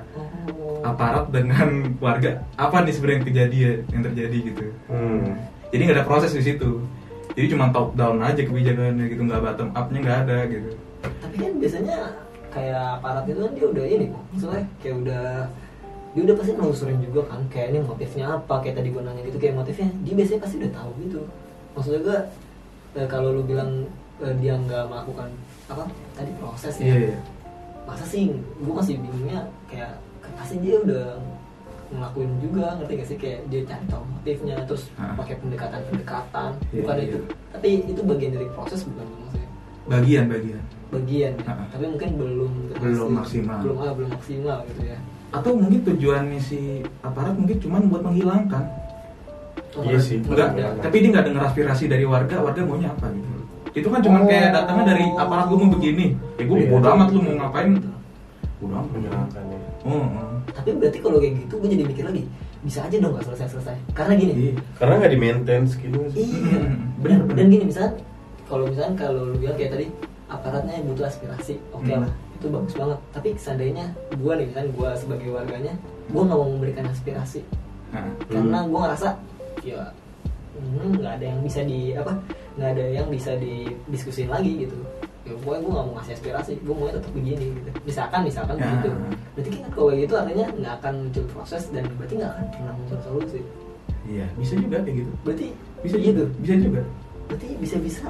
oh
aparat dengan warga apa nih sebenarnya yang kejadian yang terjadi gitu
Hmm.
jadi nggak ada proses di situ jadi cuma top down aja kebijakannya gitu nggak bottom upnya nggak ada gitu
tapi kan biasanya kayak aparat itu kan dia udah ini kok maksudnya kayak udah dia udah pasti nelusurin juga kan kayak ini motifnya apa kayak tadi gue nanya gitu kayak motifnya dia biasanya pasti udah tahu gitu maksudnya gue eh, kalau lu bilang eh, dia nggak melakukan apa tadi proses ya
iya iya
masa sih gue masih bingungnya kayak pasti dia udah ngelakuin juga ngerti gak sih kayak dia cari tahu motifnya terus
Ah.
pakai pendekatan pendekatan
Iya,
bukan
iya.
itu tapi itu bagian dari proses bukan maksudnya
bagian bagian
bagian ya.
Ah.
tapi mungkin belum
Belum maksimal.
belum ah, belum maksimal gitu ya
atau mungkin tujuannya si aparat mungkin cuma buat menghilangkan
Oh,
Iya sih.
Enggak,
Enggak.
tapi dia nggak dengar aspirasi dari warga, warga maunya apa gitu. Itu kan cuma
Oh.
kayak datangnya dari aparat gue mau begini. Ya gue
Iya.
bodo amat lu mau ngapain. Bodo amat.
menyenangkan ya.
Oh, oh.
Gitu. tapi berarti kalau kayak gitu gue jadi mikir lagi bisa aja dong gak selesai selesai karena gini
Iya.
karena nggak di maintenance gitu sih
Iya,
Mm,
benar.
benar.
Dan gini misalnya kalau misalnya kalau lu bilang kayak tadi aparatnya yang butuh aspirasi, oke
Mm.
lah, itu bagus banget. Tapi seandainya gua nih kan gua sebagai warganya, gua nggak mau memberikan aspirasi
Nah,
karena gua ngerasa ya hmm, nggak ada yang bisa di apa nggak ada yang bisa didiskusin lagi gitu. Ya pokoknya gua nggak mau ngasih aspirasi, gua maunya tetap begini gitu. Misalkan misalkan
Ya.
begitu. Berarti kan kalau kayak gitu artinya nggak akan muncul proses dan berarti nggak akan pernah muncul solusi.
iya, bisa juga kayak gitu.
Berarti
Bisa
iya
juga.
tuh.
Bisa juga.
berarti bisa-bisa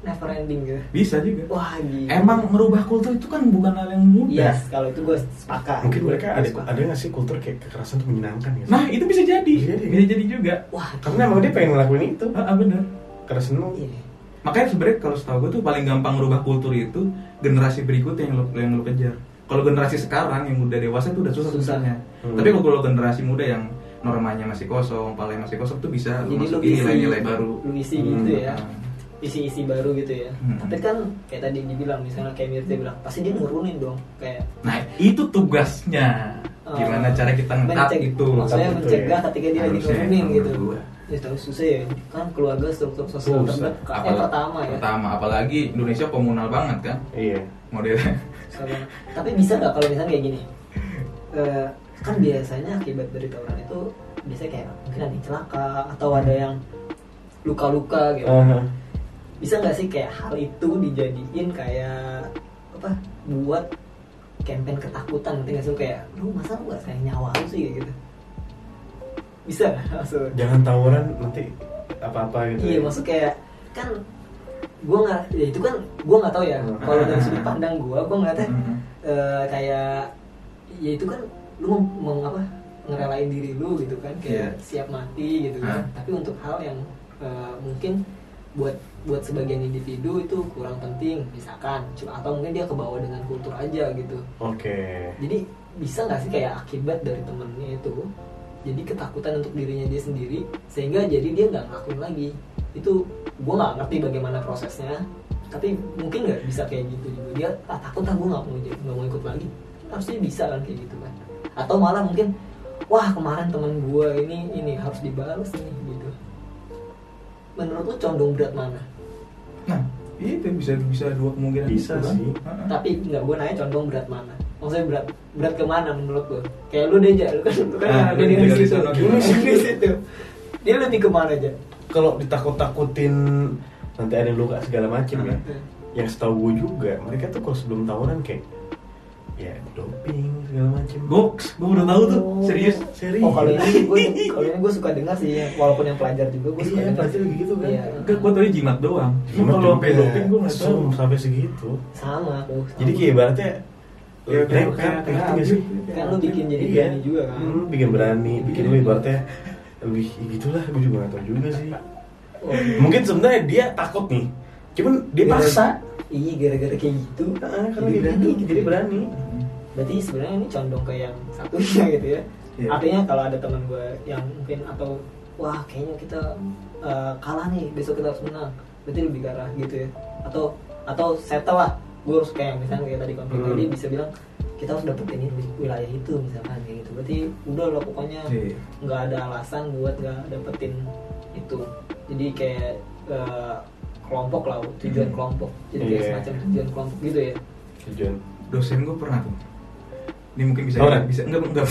never ending gitu
Bisa juga.
wah gila
Emang merubah kultur itu kan bukan hal yang mudah.
Iya.
yes kalau itu gue sepakat
mungkin mereka
Gua
ada
sepakat.
ada nggak sih kultur kayak kekerasan tuh menyenangkan gitu
Nah, itu bisa jadi.
Bisa jadi.
Bisa jadi juga.
wah
karena emang dia pengen ngelakuin itu
Ah, ah, bener.
karena seneng
iya
Makanya sebenarnya kalau setahu gue tuh paling gampang merubah kultur itu generasi berikutnya yang lo, yang lo kejar. Kalau generasi sekarang yang udah dewasa itu udah susah
Susah.
susahnya.
Hmm.
Tapi kalau kalau generasi muda yang normanya masih kosong, palanya masih kosong tuh bisa lo
jadi lu
masukin
isi
nilai-nilai baru.
lu isi
Hmm,
gitu ya
nah.
isi-isi baru gitu ya
Hmm.
tapi kan kayak tadi dibilang misalnya kayak Mirta bilang pasti dia nurunin dong kayak
Nah itu tugasnya.
eh,
Gimana cara kita gitu, ngekat
menceg-
itu?
maksudnya
Ngekat itu
mencegah
ya.
ketika dia lagi
Harusnya,
nurunin
menurut
gitu
gua.
ya tahu susah ya kan keluarga struktur sosial
Susah.
terdekat eh
Apalagi-
pertama ya
Pertama, apalagi Indonesia komunal banget kan
iya
modelnya.
Sabar. Tapi bisa nggak kalau misalnya kayak gini? Eh, kan biasanya akibat dari tawuran itu biasanya kayak mungkin ada yang celaka atau ada yang luka-luka gitu
Aha.
bisa nggak sih kayak hal itu dijadiin kayak apa buat campaign ketakutan nanti nggak sih Lu kayak lu masa lu nggak sayang nyawa lu sih Kayak gitu bisa nggak maksud
jangan tawuran nanti apa-apa gitu
iya
ya.
maksud kayak kan gue nggak ya itu kan gue nggak tahu ya kalau dari sudut pandang gue gue ngeliatnya
Hmm.
eh, kayak ya itu kan lu meng, apa ngerelain diri lu gitu kan kayak
Iya.
siap mati gitu kan
Ah.
tapi untuk hal yang eh, mungkin buat buat sebagian individu itu kurang penting misalkan Cuma- atau mungkin dia kebawa dengan kultur aja gitu
oke
jadi bisa nggak sih kayak akibat dari temennya itu jadi ketakutan untuk dirinya dia sendiri sehingga jadi dia nggak ngelakuin lagi itu gue nggak ngerti bagaimana prosesnya tapi mungkin nggak bisa kayak gitu juga dia ah, takut ah gue nggak mau jadi- nggak mau ikut lagi harusnya bisa kan kayak gitu kan atau malah mungkin wah kemarin temen gue ini ini harus dibalas nih gitu menurut lu condong berat mana
Nah, itu bisa bisa dua kemungkinan
Bisa
itu,
sih.
Heeh.
tapi nggak gue nanya condong berat mana maksudnya berat berat kemana menurut lo kayak lu deh aja lu kan lu kan
Ah,
ada
lu
di
tinggal di
situ
sana,
Lu
gimana?
di situ dia lebih kemana aja
kalau ditakut-takutin nanti ada luka segala macem ya yang setahu gue juga mereka tuh kalau sebelum tawuran kayak ya doping segala macem
Box, gue udah tahu tuh,
Oh,
serius.
serius
oh kalau ini gue kalau ini gue suka dengar sih ya. walaupun yang pelajar juga gue suka
Iya,
dengar
pelajar
sih.
gitu kan.
Iya.
Enggak, gue tadi jimat doang. Cuma
Jimat
kalau
juga.
sampai doping gue nggak tahu.
Zoom sampai segitu
sama aku
jadi kayak ibaratnya
Ya, kayak-
ngerti
kayak- kayak
nggak sih?
abis.
kan lu bikin jadi
Iya.
berani juga kan
Hmm, bikin berani bikin
Iya.
lu ibaratnya lebih ya gitulah gue juga nggak tahu juga sih
oh,
mungkin sebenarnya dia takut nih cuman dia
Iya.
paksa
iya gara-gara kayak gitu
Heeh, Ah, karena
Jadi
dia berani
berani.
jadi berani
berarti sebenarnya ini condong ke yang satunya gitu ya
Iya.
artinya kalau ada teman gue yang mungkin atau wah kayaknya kita eh, kalah nih besok kita harus menang berarti lebih ke arah gitu ya atau atau settle lah gue harus kayak misalnya kayak tadi konflik
Hmm.
tadi bisa bilang kita harus dapetin ini wilayah itu misalkan kayak gitu berarti udah lo pokoknya
Iya.
nggak ada alasan buat nggak dapetin itu jadi kayak eh, kelompok lah tujuan
Hmm.
kelompok jadi kayak
Iya.
semacam tujuan kelompok gitu ya
tujuan
Dosen gue pernah tuh. Ini mungkin bisa
Tawuran?
bisa enggak enggak.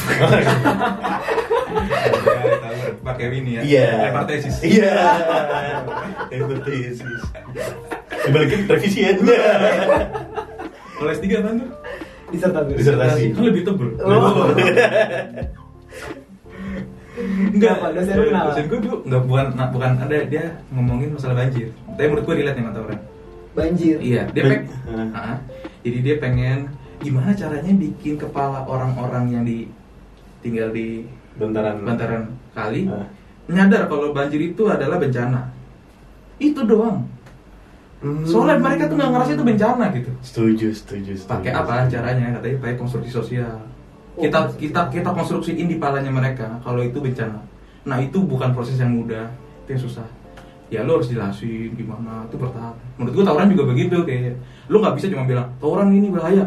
Tawuran pakai ini ya.
iya
Repartesis.
iya Repartesis. dibalikin revisi ya
Iya. Kalau S3 kan tuh
disertasi
Disertasi.
kan lebih tebel.
Oh.
Enggak,
Kenapa? Dosen lu kenapa?
Dosen gue dulu enggak bukan nah, bukan ada dia ngomongin masalah banjir. Tapi menurut gue relate nih sama tawuran.
banjir
Iya, dia
Ben-
peng
Heeh.
Heeh. Jadi dia pengen gimana caranya bikin kepala orang-orang yang di tinggal di
bentaran
bantaran kali
Heeh.
nyadar kalau banjir itu adalah bencana. Itu doang.
Hmm.
Soalnya mereka tuh nggak ngerasa itu bencana gitu.
setuju setuju setuju.
Pakai apa caranya? Katanya pakai konstruksi sosial.
Hmm. Oh,
Kita
konstruksi
kita
sosial.
kita konstruksiin di palanya mereka kalau itu bencana. Nah, itu bukan proses yang mudah, itu yang susah. Ya lo harus jelasin gimana itu bertahap. Menurut gua tawuran juga begitu kayak lo nggak bisa cuma bilang tawuran ini bahaya.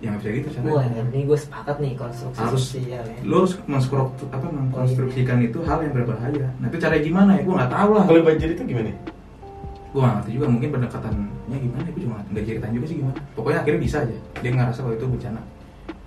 Ya nggak bisa gitu
Wah,
caranya.
ini gue sepakat nih konstruksi
harus
sosial ya.
lo harus menskrok- apa mengkonstruksikan itu hal yang berbahaya. Nah itu caranya gimana ya? Gue nggak tahu lah.
kalau banjir itu gimana
gue gak ngerti juga mungkin pendekatannya gimana gue juga nggak ceritain juga sih gimana pokoknya akhirnya bisa aja dia ngerasa bahwa itu bencana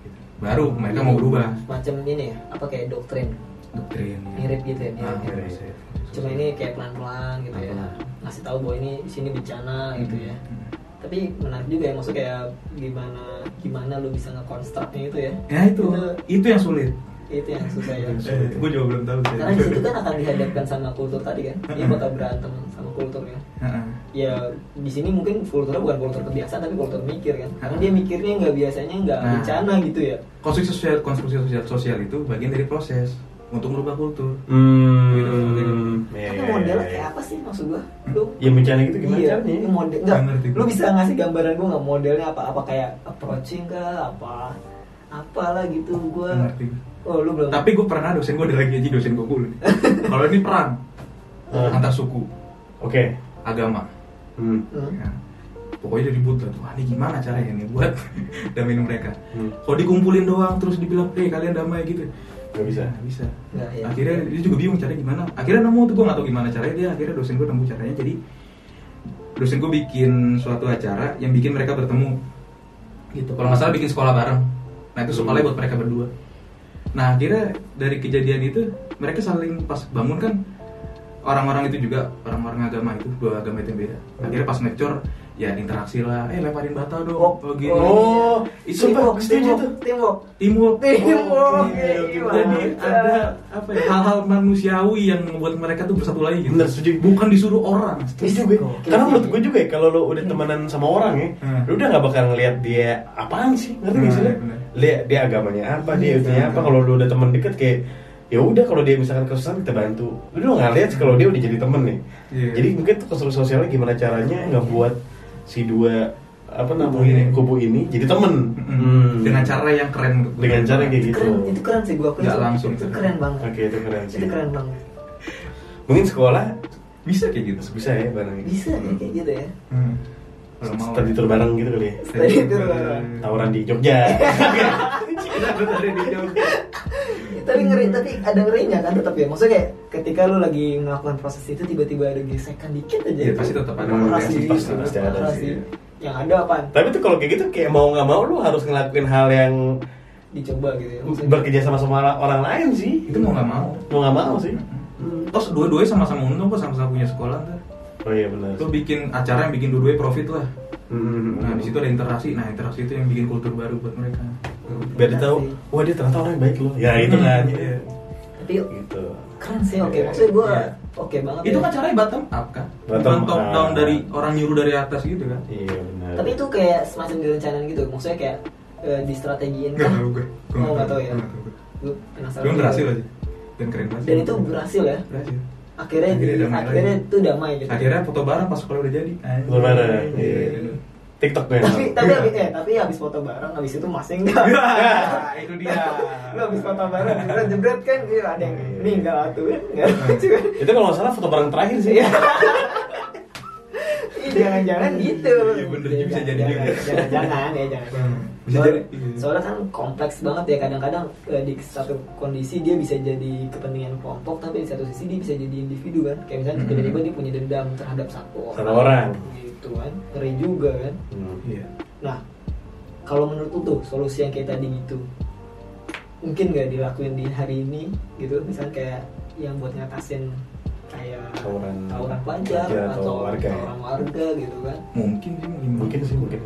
Gitu. baru mereka mau berubah
Macam ini ya, apa kayak doktrin.
doktrin ya.
Mirip gitu ya, mirip
Ah,
gitu.
mirip sih.
Cuma ini kayak pelan-pelan gitu ya.
Pelan-pelan.
Ngasih tahu bahwa ini di sini bencana gitu ya.
Hmm.
Tapi menarik juga ya maksud kayak gimana gimana lu bisa ngekonstruknya itu ya.
ya itu itu yang sulit
Itu yang susah ya.
Sulit. Eh,
gue juga belum tahu sih
Karena di situ kan akan dihadapkan sama kultur tadi kan. Dia
Hmm.
bakal berantem sama kulturnya.
Heeh.
ya di sini mungkin kulturnya bukan kultur kebiasaan tapi kultur mikir kan karena dia mikirnya nggak biasanya nggak
Nah.
bencana gitu ya
konstruksi sosial konstruksi sosial sosial itu bagian dari proses untuk merubah kultur
Hmm,
Iya,
ya,
tapi
ya,
modelnya
ya,
kayak
ya.
apa sih maksud gua lu
Ya bencana gitu gimana
iya,
caranya?
ini model nggak
Nggak ngerti
lu
gua.
bisa ngasih gambaran gua nggak modelnya apa apa kayak approaching kah apa apalah gitu gua
Nggak ngerti.
oh lu belum
tapi gue pernah dosen gue ada lagi aja dosen gue nih kalau ini perang
Hmm.
antar suku
Oke.
agama
Hmm.
Hmm.
Ya. Pokoknya jadi butuh tuh, wah ini gimana caranya nih buat damain mereka.
Hmm.
Kalau dikumpulin doang terus dibilang, eh kalian damai gitu,
Gak bisa.
Nggak bisa.
Nggak, ya.
Akhirnya dia juga bingung caranya gimana. Akhirnya nemu tuh gue nggak tahu gimana caranya dia. Akhirnya dosen gue nemu caranya. Jadi dosen gue bikin suatu acara yang bikin mereka bertemu. Gitu. Kalau nggak salah bikin sekolah bareng. Nah itu sekolahnya buat mereka berdua. Nah akhirnya dari kejadian itu mereka saling pas bangun kan orang-orang itu juga orang-orang agama itu dua agama itu yang beda. Akhirnya pas ngecor ya interaksi lah, eh lemparin bata dong,
Oh,
begini.
oh,
itu
Teamwork,
sumpah, setuju
teamwork,
tuh.
teamwork.
Teamwork.
Teamwork,
oke,
ya,
oke.
gimana?
Jadi ada apa ya, hal-hal manusiawi yang membuat mereka tuh bersatu lagi gitu.
Bener, setuju.
Bukan disuruh orang.
Setuju gue. Iya Karena menurut gue juga ya kalau lo udah temenan sama orang ya,
gitu? Hmm.
lo udah nggak bakal ngeliat dia apaan sih, ngerti nggak sih?
Hmm,
lo?
bener.
Lihat dia agamanya apa, dia
Hmm.
itunya apa. Kalau lo udah teman deket kayak ya udah kalau dia misalkan kesusahan kita bantu. Lo nggak lihat sih kalau dia udah jadi temen nih.
Iya.
Jadi mungkin tuh konstruksi sosialnya gimana caranya nggak buat si dua apa
Kubu
namanya
ini.
kubu ini jadi temen
Mm-mm.
Hmm.
Dengan cara yang keren menurut gue.
dengan cara kayak gitu.
Keren, itu keren sih gue aku
Nggak langsung.
itu keren banget.
Oke itu keren sih.
Itu keren banget.
Mungkin sekolah
bisa kayak gitu.
bisa ya bareng.
Bisa ya, kayak gitu ya.
Hmm. Kalau mau.
Study tour bareng gitu kali ya.
Study tour bareng.
Tawuran di Jogja.
Kita tadi di Jogja. Hmm.
tapi ngeri tapi ada ngerinya kan tetap ya maksudnya kayak ketika lu lagi melakukan proses itu tiba-tiba ada gesekan dikit aja
Iya,
itu.
pasti tetap ada
Parah
reaksi,
sih,
pasti- pasti ada
parah
sih.
yang ada apa
Tapi tuh kalau kayak gitu kayak mau nggak mau lu harus ngelakuin hal yang
dicoba gitu ya maksudnya.
bekerja sama sama orang- orang lain sih.
Itu mau nggak mau.
Mau nggak mau sih.
Hmm.
Terus dua-duanya sama-sama untung kok sama-sama punya sekolah tuh.
Oh iya benar.
Lo bikin acara yang bikin dua-duanya profit lah.
Hmm.
Nah di situ ada interaksi. Nah interaksi itu yang bikin kultur baru buat mereka.
biar dia tahu, wah dia ternyata orang yang baik loh. Ya itu
Hmm,
kan.
iya.
tapi
Gitu.
keren sih oke maksudnya gue
Iya.
oke banget
Itu
ya.
kan caranya bottom up kan.
Bottom
Bukan top
up.
down dari orang nyuruh dari atas gitu kan.
Iya benar.
tapi itu kayak semacam direncanain gitu maksudnya kayak eh, distrategiin
Nggak
kan
tahu gue. Gue
oh
nggak
nggak
tahu.
tahu ya
Gue nggak tahu, gue.
gue penasaran
Cuma
juga.
berhasil aja. Dan keren banget.
dan itu berhasil ya
berhasil.
akhirnya
Akhirnya
di-
damai lagi.
akhirnya itu damai gitu
Akhirnya foto bareng pas sekolah udah jadi. Anjing.
Foto bareng,
Iya.
iya. TikTok gue.
tapi tapi
Iya.
habis- eh tapi habis foto bareng habis itu masih enggak Ah,
Ya, itu dia.
lu habis foto bareng jebret jebret kan iya, ada yang meninggal tuh kan nggak lucu
Iya.
kan
itu kalau nggak salah foto bareng terakhir sih.
Iya. Ih, jangan-jangan gitu
Iya, bener juga, bisa jadi
Jangan-
juga.
jangan-jangan ya jangan
Hmm, bisa
Soal-
jadi, iya.
soalnya kan kompleks banget ya kadang-kadang eh, di satu kondisi dia bisa jadi kepentingan kelompok tapi di satu sisi dia bisa jadi individu kan kayak misalnya
Mhm.
tiba-tiba dia punya dendam terhadap satu
Satu orang.
gitu kan ngeri juga kan
Hmm.
Iya.
Nah, kalau menurut lu tuh solusi yang kayak tadi gitu, mungkin nggak dilakuin di hari ini gitu, misal kayak yang buat ngatasin kayak
Tawuran-
tawuran pelajar
pelajar atau
atau
warga ya?
orang warga gitu kan.
Mungkin sih mungkin.
Mungkin sih mungkin.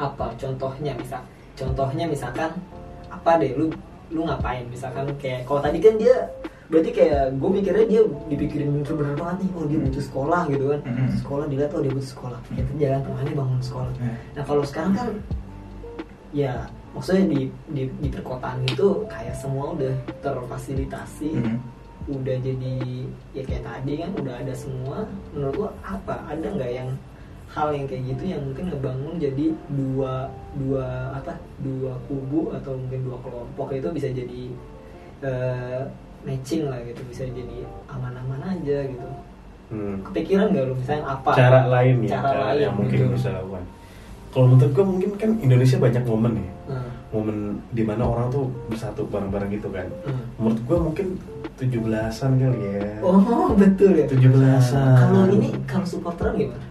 Apa contohnya misal? Contohnya misalkan apa deh lu lu ngapain misalkan kayak kalau tadi kan dia berarti kayak gue mikirnya dia dipikirin bener-bener banget nih oh dia butuh sekolah gitu kan
Mhm.
sekolah dilihat oh dia butuh sekolah ya jalan kemana bangun sekolah
Iya.
Nah kalau sekarang kan ya maksudnya di di, di perkotaan itu kayak semua udah terfasilitasi,
Mhm.
udah jadi ya kayak tadi kan udah ada semua. Menurut lo apa? Ada nggak yang hal yang kayak gitu yang mungkin ngebangun jadi dua dua apa dua kubu atau mungkin dua kelompok itu bisa jadi eh, matching lah gitu bisa jadi aman-aman aja gitu
Hmm.
kepikiran nggak lo misalnya apa
cara lain ya
cara, lain
yang mungkin
gitu.
bisa lakukan kalau menurut gue mungkin kan Indonesia banyak momen ya
Nah,
momen dimana orang tuh bersatu bareng-bareng gitu kan
hmm.
menurut gue mungkin 17-an kali ya
Oh betul ya.
17-an.
Kalau ini kalau supporteran gimana?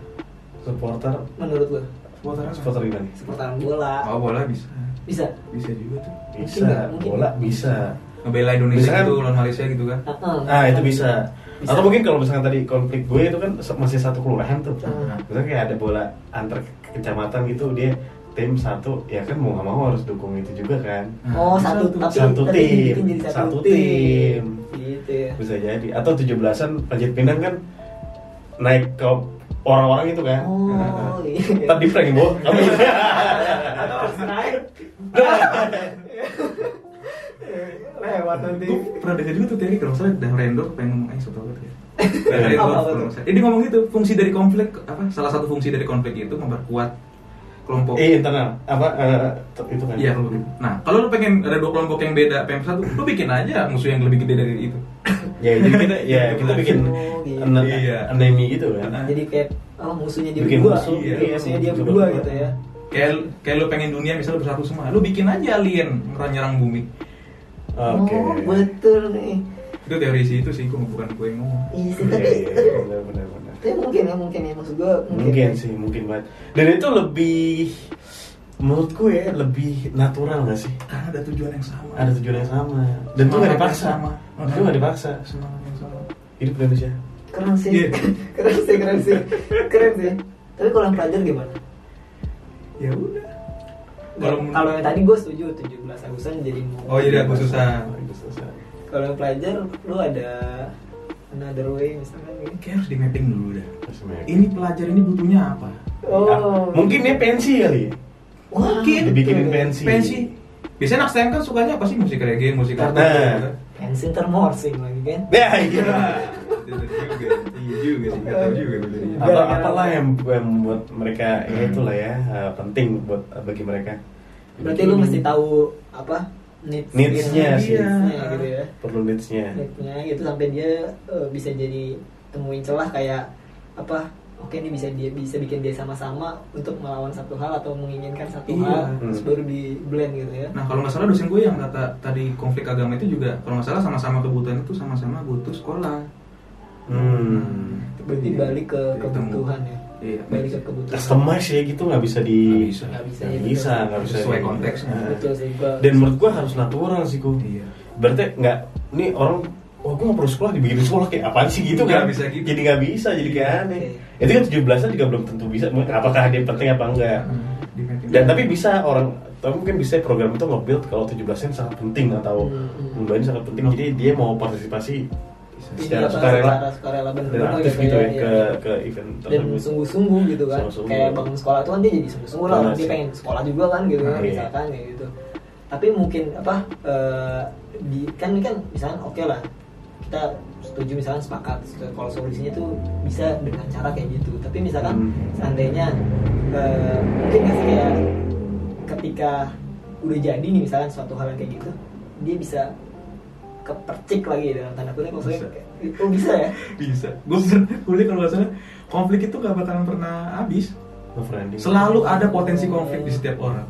supporter
Menurut lo
Supporteran apa?
supporter gimana
supporteran bola
Oh bola bisa.
bisa?
Bisa juga tuh.
Mungkin
bisa
nggak? Mungkin.
bola bisa
Ngebela Indonesia
Misalkan-
gitu lawan Malaysia gitu kan.
Heeh.
ah itu bisa
Bisa.
atau mungkin kalau misalkan tadi konflik gue itu kan se- masih satu kelurahan tuh
Nah.
Hmm.
misalnya kayak ada bola antar ke- kecamatan gitu dia tim satu ya kan mau nggak mau harus dukung itu juga kan
Oh
Bisa
satu,
tuh.
tapi
Satu
tapi
tim.
dibikin jadi satu,
Satu
tim.
tim.
Gitu ya.
bisa jadi atau 17-an Panjat Pinang kan naik ke orang-orang itu kan
Oh iya.
Ntar di prank bu Kamu gitu.
Atau harus naik. Lewat nanti.
Gue pernah denger juga tuh teori kalau nggak salah Dan Rendor pengen ngomong eh soto banget ya. Dan
Apa
Rendor
tuh?
kalau nggak salah. Eh, dia ngomong gitu, fungsi dari konflik apa? Salah satu fungsi dari konflik itu memperkuat kelompok.
Eh internal Apa eh, Itu kan
Iya, kelompok itu. Nah, kalau lu pengen ada dua kelompok yang beda, pengen satu, lu bikin aja musuh yang lebih gede dari itu.
Ya jadi kita Ya kita bikin
Oh, gitu.
ane-
Iya.
Anemi gitu kan
Jadi kayak oh musuhnya dia
Bikin
berdua,
musuh,
Iya,
iya.
musuhnya dia
Coba
berdua
coba.
gitu ya.
Kayak kayak lu pengen dunia misalnya bersatu semua, lu bikin aja alien nyerang bumi. Iya.
Oke
Oh betul nih.
Itu teori sih itu sih, gua bukan gue yang ngomong.
Iya sih,
Iya,
tapi
iya,
tapi
iya, benar, benar, benar.
tapi mungkin ya mungkin ya maksud gue
Mungkin sih Mungkin banget Dan itu lebih menurutku ya lebih natural gak sih
Karena ada tujuan yang sama.
ada tujuan yang sama dan
Semangat
itu gak
Oh, yang
dipaksa
sama.
itu gak dipaksa
Semangat yang sama.
hidup di Indonesia
keren sih
Iya.
keren sih keren sih keren sih tapi kalau yang pelajar gimana
Ya udah.
kalau
Kalau menurut-
kalau yang tadi gue setuju 17 Agustusan jadi
Oh, jadi aku susah.
Aku susah.
kalau yang pelajar lu ada another way misalkan gitu
Kayak harus di mapping dulu dah.
Terus mereka-
Ini pelajar ini butuhnya apa?
Oh.
Ah, mungkin dia pensi kali ya?
Wah,
Mungkin.
betul
Dibikinin
ya.
pensi.
Pensi. Biasanya anak STEM kan sukanya apa sih musik reggae, musik
Nah.
kartu. gitu.
pensi termorsing lagi kan
Ya, iya.
Iya. Bener juga. Iya juga sih. Gak tau juga. bener.
Atau apalah yang, yang membuat mereka ya itulah ya eh, penting buat bagi mereka.
berarti
Hmm.
lu mesti tahu apa needs
Iya.
Needs-nya Iya sih.
gitu ya
perlu needs-nya.
needs-nya gitu sampai dia eh, bisa jadi temuin celah kayak apa oke ini bisa dia bisa bikin dia sama-sama untuk melawan satu hal atau menginginkan satu
Iya.
hal terus
Hmm.
baru di blend gitu ya
Nah kalau nggak salah dosen gue yang kata tadi konflik agama itu juga kalau nggak salah sama-sama kebutuhan itu sama-sama butuh sekolah. Nah,
Hmm.
berarti balik ke
Ditemu.
kebutuhan ya
Iya.
balik ke kebutuhan
Customize ya gitu nggak bisa di
Nggak bisa.
nggak bisa
nggak
ya,
bisa,
betul.
nggak bisa
Sesuai
di-
konteksnya.
Nah.
betul sih gua
Dan menurut gua harus natural sih gua.
Iya.
Berarti nggak ini orang Wah, gue nggak perlu sekolah, dibikin sekolah kayak apaan sih gitu
Nggak
kan?
bisa gitu.
Jadi nggak bisa, jadi kayak
Iya.
aneh.
Oke.
Itu kan 17-an juga belum tentu bisa. Mungkin Apakah dia penting apa enggak?
Di mapping.
Ya. Dan tapi bisa orang tapi mungkin bisa program itu nge-build kalau 17-an sangat penting atau
Hmm, hmm.
mudanya sangat penting. Jadi dia mau partisipasi
Bisa.
Iya,
secara
apa,
sukarela
secara sukarela bener
dan aktif
gitu
gitu
ya,
ya
iya.
ke ke event
dan
tersebut.
sungguh-sungguh gitu kan
Sungguh-sungguh.
kayak bangun sekolah tuh kan dia jadi sungguh-sungguh lah
Benar
dia
sih.
pengen sekolah juga kan gitu kan
Ah, iya.
misalkan ya gitu tapi mungkin apa eh, di kan ini kan misalnya oke lah kita setuju misalkan sepakat kalau solusinya tuh bisa dengan cara kayak gitu tapi misalkan
Hmm.
seandainya eh, mungkin nggak sih kayak ketika udah jadi nih misalkan suatu hal yang kayak gitu dia bisa kepercik lagi dalam tanda kutip maksudnya
Bisa.
kayak, oh bisa ya
Bisa. Gue pernah kuliah kalau nggak salah konflik itu nggak bakalan pernah habis.
Love branding.
Selalu ada potensi konflik di setiap orang.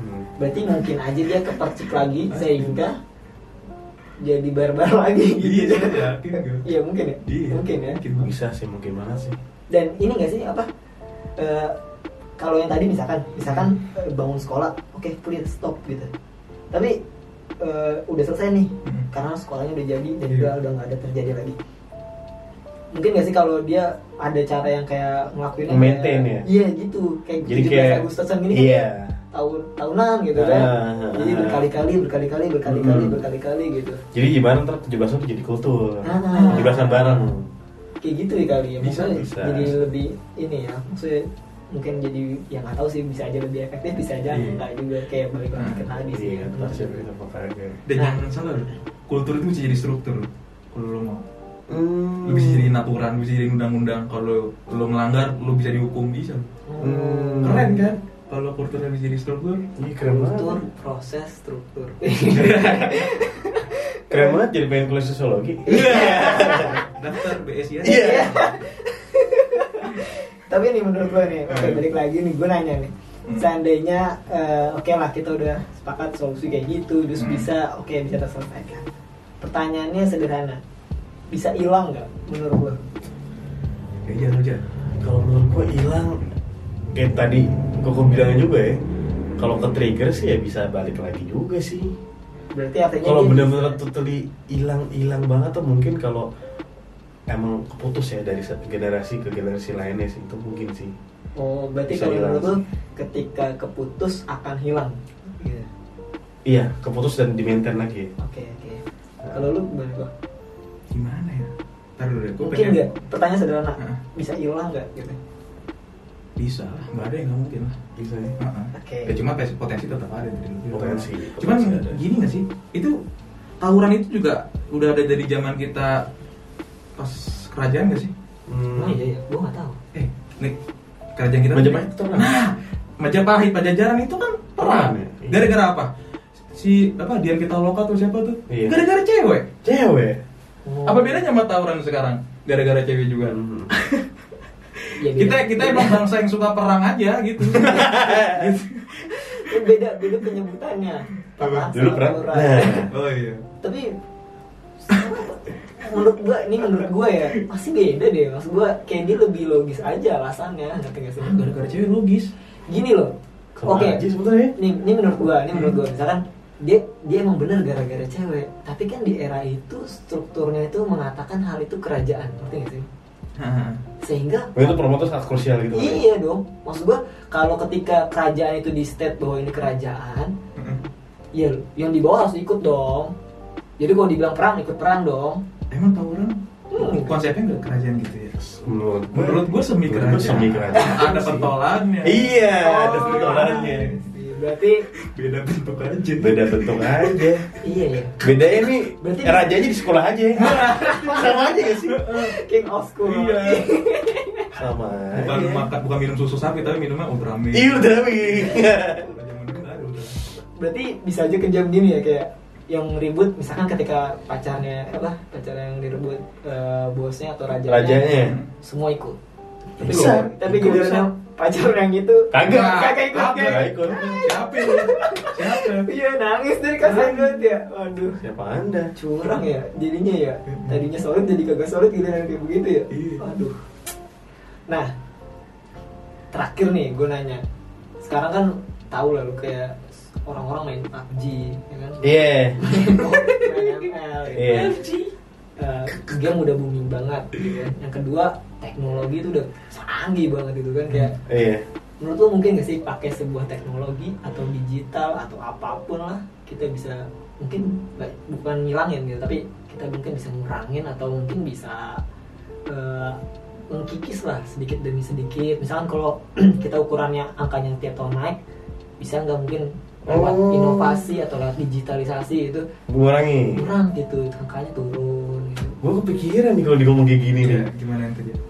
Hmm.
Berarti mungkin aja dia kepercik lagi sehingga jadi barbar lagi gitu.
Iya, yakin gue.
Iya mungkin ya.
Iya.
Mungkin ya.
Mungkin banget.
Bisa sih mungkin banget sih.
Dan ini gak sih apa? eh, kalau yang tadi misalkan, misalkan eh, bangun sekolah, oke clear stop gitu. Tapi eh, udah selesai nih,
Hmm.
karena sekolahnya udah jadi dan
Iya.
udah udah nggak ada terjadi lagi. Mungkin gak sih kalau dia ada cara yang kayak ngelakuinnya
Maintain
kayak-
ya?
Iya gitu, kayak
Jadi
17
kayak-
Agustusan gini kan
Iya.
tahun tahunan gitu kan.
Ah,
Jadi
ah.
berkali-kali berkali-kali berkali-kali
Hmm.
berkali-kali gitu.
Jadi gimana ntar 17-an tuh jadi kultur.
Ah.
17-an bareng.
Kayak gitu ya kali ya.
Bisa,
Maksudnya
bisa.
Jadi lebih ini ya. Maksudnya mungkin jadi yang nggak tahu sih bisa aja lebih efektif bisa aja
Iya.
enggak juga kayak balik lagi ke
Hmm.
tadi sih.
Iya,
Benar.
pasti itu aja.
Dan
Nah.
jangan salah, loh. kultur itu bisa jadi struktur. loh, Kalau lo mau,
Hmm.
lo bisa jadi aturan, bisa jadi undang-undang. Kalau lo melanggar, lo bisa dihukum bisa.
Hmm.
Hmm.
Keren kan? Kalau kulturnya bisa jadi struktur,
Iya, keren banget.
Struktur, proses, struktur.
Keren banget jadi pengen kuliah sosiologi.
daftar BSI aja.
Iya.
Tapi nih menurut gue nih,
Iya.
oke
Hmm.
balik lagi nih gue nanya nih.
Hmm.
Seandainya eh, oke lah kita udah sepakat solusi kayak gitu, terus
Hmm.
bisa oke bisa terselesaikan. Pertanyaannya sederhana, bisa hilang nggak menurut lo?
Iya, aja.
Kalau menurut gua hilang kayak tadi kok bilang juga ya. Kalau ke trigger sih ya bisa balik lagi juga sih.
Berarti artinya
kalau
dia
benar-benar
bisa-
totally hilang hilang banget atau mungkin kalau emang keputus ya dari satu generasi ke generasi lainnya sih itu mungkin sih
Oh, berarti
Bisa
kalau
hilang.
menurut lo ketika keputus akan hilang. Gitu.
iya keputus dan di maintain lagi ya
Oke oke.
Nah.
Kalau lu gimana kok?
Gimana ya? Ntar dulu deh, gue
Mungkin
pengen Hmm.
nggak? Pertanyaan sederhana,
Heeh.
bisa hilang nggak? Gitu.
bisa lah, nggak ada yang nggak mungkin lah.
bisa ya
Heeh.
Oke.
Ya cuma pes- potensi tetap ada dari dulu.
Potensi,
Cuman
potensi ada.
gini nggak sih? Itu tawuran itu juga udah ada dari zaman kita pas kerajaan nggak sih?
hmm.
Oh iya iya, gue nggak tahu.
Eh, nih kerajaan kita.
Majapahit itu perang.
Nah, Majapahit Pajajaran itu kan perang.
Perang ya? Iya.
Gara-gara apa? Si apa Dian Pitaloka tuh siapa tuh?
Iya.
Gara-gara cewek.
cewek
Oh.
Apa bedanya sama tawuran sekarang? Gara-gara cewek juga.
Hmm. Ya, beda.
Kita kita emang bangsa yang suka perang aja gitu. Gitu.
Eh, beda beda penyebutannya. Perang
dulu
sama
perang
tawuran.
nah
Oh iya.
Tapi menurut gua ini menurut gua ya masih beda deh mas gua kayak dia lebih logis aja alasannya ngerti gak sih
Gara-gara cewek logis.
gini loh
Sama
Oke.
aja sebetulnya.
ini ini menurut gua ini menurut gua misalkan dia dia emang bener gara-gara cewek tapi kan di era itu strukturnya itu mengatakan hal itu kerajaan ngerti nggak sih sehingga
Nah, itu promotor sangat krusial gitu. kan.
iya dong maksud gua kalau ketika kerajaan itu di state bahwa ini kerajaan ya yang di bawah harus ikut dong jadi kalau dibilang perang ikut perang dong
Emang tawuran
Hmm.
konsepnya nggak kerajaan gitu ya?
Menurut gue,
Menurut gue semi
menurut gua
kerajaan.
semi kerajaan.
Ada pentolannya.
iya, ada
Oh. iya.
pentolannya.
berarti
Beda bentuk aja.
Beda bentuk aja.
iya ya
Bedanya nih,
Berarti-
rajanya di sekolah eh, aja. Sama aja gak sih?
king of school
Iya.
Sama
Bukan
aja.
makan, bukan minum susu sapi tapi minumnya Ultramin.
Iya, udah
Zaman dulu ada Ultramin.
berarti bisa aja kejam gini ya kayak yang ribut misalkan ketika pacarnya apa pacar yang direbut eh, bosnya atau rajanya,
ya?
Rajanya.
semua ikut tapi
Bisa.
giliran- tapi
Ikut
giliran
bisa.
yang pacar yang gitu, itu
Kagak.
kagak ikut
Kagak.
kayak,
ikut.
Siapa? lu? Siapa?
iya nangis dari kasihan
Nangis.
banget ya waduh
Siapa anda?
curang ya jadinya ya tadinya solid jadi kagak solid giliran kayak begitu ya
Iya.
waduh nah terakhir nih gue nanya sekarang kan tahu lah lu kayak orang-orang main PUBG ya kan
Iya. Iya.
Eh, game udah booming banget gitu kan. Yang kedua, teknologi itu udah canggih banget gitu kan kayak
Iya.
menurut lo mungkin gak sih pakai sebuah teknologi atau digital atau apapun lah kita bisa mungkin ba- bukan ngilangin gitu tapi kita mungkin bisa ngurangin atau mungkin bisa eh, mengkikis lah sedikit demi sedikit misalkan kalau kita ukurannya angkanya tiap tahun naik bisa nggak mungkin lewat
Oh.
inovasi atau lewat digitalisasi gitu? itu
Mengurangi.
kurang gitu angkanya turun gitu.
Gue kepikiran nih kalau di ngomong kayak gini
Iya,
nih.
gimana yang terjadi?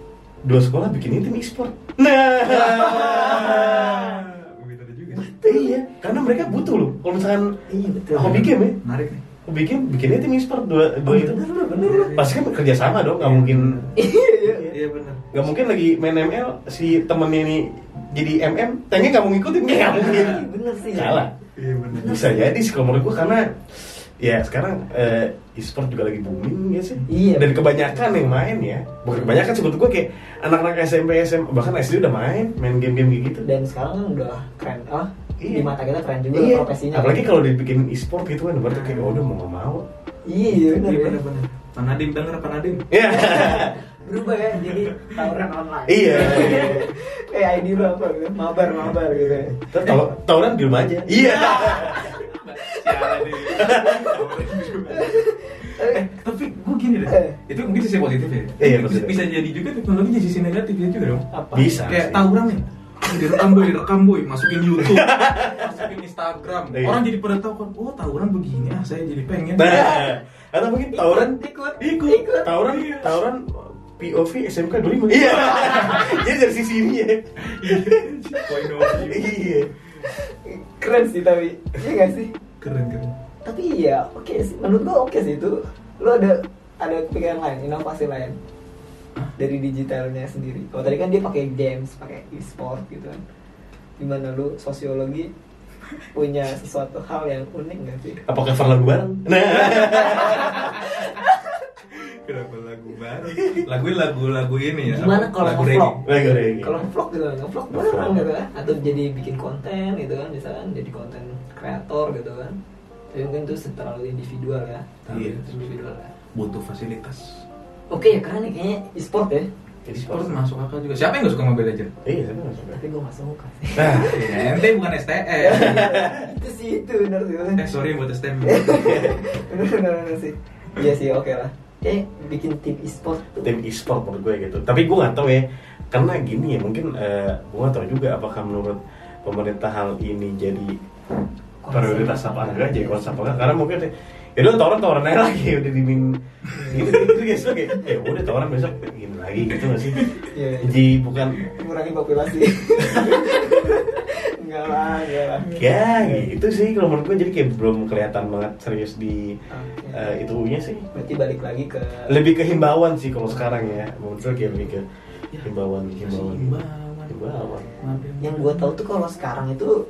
Dua sekolah bikin tim e-sport.
Ah,
Nah.
Begitu ada juga.
iya. Karena mereka butuh loh. Kalau misalkan
iya betul
hobi game ya,
Menarik nih.
hobi game bikinnya tim e-sport dua dua itu.
bener bener, bener.
Pasti kan kerja sama dong, nggak mungkin
iya iya
Iya benar.
nggak mungkin lagi main ML si temennya ini jadi MM, tanya nggak mau ngikutin nggak mungkin.
Iya, bener sih
Salah.
Iya benar.
Bisa jadi sih kalau menurut gue karena ya sekarang eh, e-sport juga lagi booming ya sih.
Iya.
Dan kebanyakan yang main ya, bukan kebanyakan sih menurut gue kayak anak-anak SMP, SMA bahkan SD udah main main game-game kayak gitu.
dan sekarang kan udah keren ah
Iya.
di mata kita keren juga
Iya.
profesinya Ah.
Apalagi kalau dibikin e-sport gitu kan berarti kayak oh, udah mau nggak mau.
iya iya bener
Iya
ya.
benar benar. Pak Nadim denger Pak Nadim.
Iya.
berubah ya jadi tawuran online
Iya.
kayak ID lu apa gitu mabar mabar gitu ya.
Ntar Tahu tahunan di rumah aja. Iya.
Sialan ini. Eh, tapi gue gini deh,
Eh.
itu mungkin sisi positif ya.
Iya,
bisa,
positif.
bisa jadi juga teknologi jadi sisi negatif ya juga dong.
apa
Bisa.
Kayak
sih.
tawuran nih. Oh, direkam boy, direkam boy, masukin YouTube, masukin Instagram.
Iya.
Orang jadi pada tahu kan, oh tawuran begini, ah saya jadi pengen.
Nah, atau mungkin tawuran
ikut
ikut, tawuran
Iya.
tawuran POV SMK 25. Iya. Jadi dari sisi ini ya.
Point of view.
Iya.
keren sih tapi iya gak sih
Keren keren.
tapi iya oke sih menurut gua oke sih itu lu ada ada kepikiran lain inovasi lain dari digitalnya sendiri kalau tadi kan dia pakai games pakai e-sport gitu kan gimana lu sosiologi punya sesuatu hal yang unik gak sih
Apa cover lagu bareng? Nah,
Kenapa lagu baru? Lagu lagu lagu ini ya.
Gimana
apa?
kalau
lagu
nge-vlog?
reggae?
lagu ini.
kalau vlog gitu kan vlog bareng gitu kan atau jadi bikin konten gitu kan misalkan jadi konten kreator gitu kan tapi mungkin itu terlalu individual ya
Iya.
individual ya
Butuh fasilitas.
oke ya keren nih kayaknya e-sport ya
Sport masuk akal juga. Siapa yang gak suka Mobile Legends?
Iya, saya nggak suka.
tapi gue masuk muka sih
Nah,
Ya, ente bukan STM.
itu sih itu benar sih
eh sorry buat STM.
benar benar benar sih iya sih oke lah eh bikin tim e-sport tuh
tim e-sport menurut gue gitu. Tapi gue nggak tahu ya, karena gini ya mungkin eh, gue nggak tahu juga apakah menurut pemerintah hal ini jadi prioritas apa enggak jadi konsep apa enggak karena mungkin ya udah tawuran tawuran aja lagi udah dimin gitu gitu guys kayak ya udah tawuran besok gini lagi gitu nggak sih
Iya, iya.
jadi bukan
mengurangi populasi enggak lah enggak lah
ya gitu sih kalau menurut gue jadi kayak belum kelihatan banget serius di
Oke.
eh, itunya sih
berarti balik lagi ke
lebih ke himbauan sih kalau sekarang ya menurut gue kayak lebih ke
Ya,
himbauan himbauan
Himbauan.
himbauan
yang gue tahu tuh kalau sekarang itu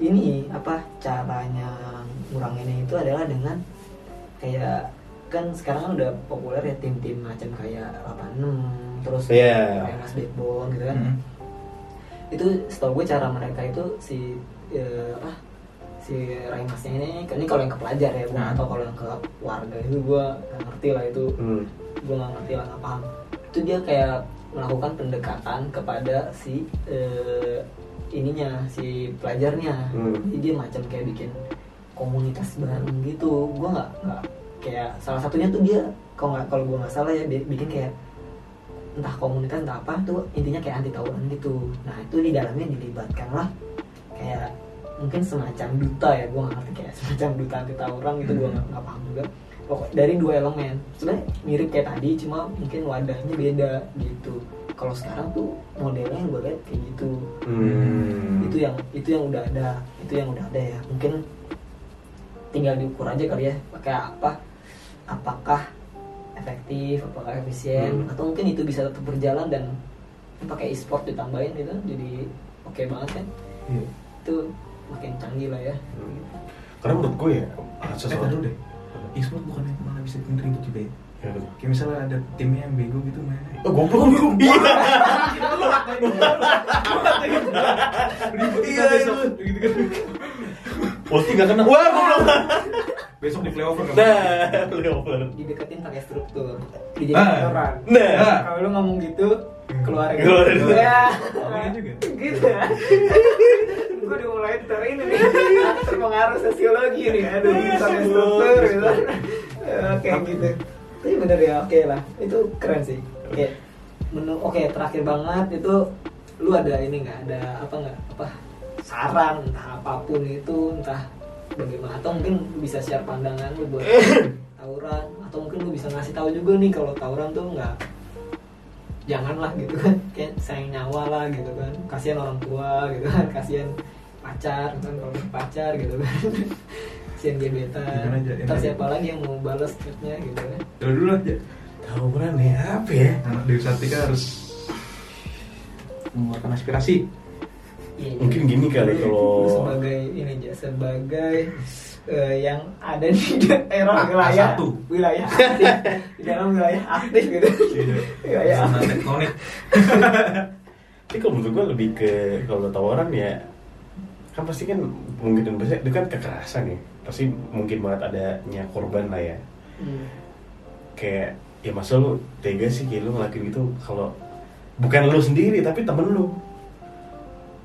ini apa caranya nguranginnya itu adalah dengan kayak kan sekarang kan udah populer ya tim-tim macam kayak 86 terus
Iya. Hmm.
kayak Mas Backbone gitu kan
Hmm.
itu setahu gue cara mereka itu si eh, apa si Raimasnya ini ini kalau yang ke pelajar ya gue
Nah.
atau kalau yang ke warga itu gue nggak ngerti lah itu
Hmm.
gue nggak ngerti lah nggak paham itu dia kayak melakukan pendekatan kepada si eh, ininya si pelajarnya
Hmm.
jadi dia macam kayak bikin komunitas bareng gitu gue nggak nggak kayak salah satunya tuh dia kalau nggak kalau gue nggak salah ya dia bikin kayak entah komunitas entah apa tuh intinya kayak anti tawuran gitu nah itu di dalamnya dilibatkan lah kayak mungkin semacam duta ya gue nggak ngerti kayak semacam duta anti tawuran gitu gue nggak nggak paham juga pokok dari dua elemen sebenarnya mirip kayak tadi cuma mungkin wadahnya beda gitu kalau sekarang tuh modelnya yang gue lihat kayak gitu
Hmm.
itu ya. yang itu yang udah ada itu yang udah ada ya mungkin tinggal diukur aja kali ya pakai apa apakah efektif apakah efisien
Hmm.
atau mungkin itu bisa tetap berjalan dan pakai e-sport ditambahin gitu jadi oke banget kan
Iya.
itu makin canggih lah ya
Hmm. Karena menurut gue ya
Eh, eh,
sesuatu
taruh deh. E-sport bukan yang malah bisa bikin ribut juga ya.
Ya, betul.
Kayak misalnya ada timnya yang bego gitu mainnya.
Oh, goblok lu. Iya.
Ribut kita
Iya,
besok.
itu.
Gitu kan.
Ulti nggak kena. Wah, goblok.
Besok di flyover kan.
Nah, Leopold.
dideketin pakai struktur dijadiin
Ah.
orang
Nah.
kalau lu ngomong gitu keluar gitu
Keluar.
ya
Ngomongin juga.
gitu ya gue udah mulai ntar ini nih terpengaruh sosiologi nih aduh sampai struktur gitu Eh, kayak gitu tapi bener ya oke lah itu keren sih oke menu oke terakhir banget itu lu ada ini nggak ada apa nggak apa saran entah apapun itu entah bagaimana atau mungkin lu bisa share pandangan lu buat tawuran atau mungkin lu bisa ngasih tahu juga nih kalau tawuran tuh nggak janganlah gitu kan kayak sayang nyawa lah gitu kan kasihan orang tua gitu kan kasihan pacar gitu kan kalau punya pacar gitu kan kasihan gebetan
Gimana aja,
terus
ini?
siapa lagi yang mau balas tweetnya gitu kan
Dulu dulu aja.
Tawuran ya apa ya?
Anak Dewi Sartika harus mengeluarkan aspirasi.
Iya,
Mungkin gini kali
Lu-
kalau-
lu sebagai ini aja sebagai eh, yang ada di daerah
Ah,
A-
wilayah
A1.
wilayah aktif di dalam wilayah aktif gitu
Iya,
wilayah
Sama
aktif.
tektonik.
Tapi kalau menurut gue lebih ke kalau tawaran ya kan pasti kan mungkin dan besar itu kan kekerasan ya pasti mungkin banget adanya korban lah ya
Hmm.
kayak ya masa lu tega sih kayak lu ngelakuin gitu kalau bukan lu sendiri tapi temen lu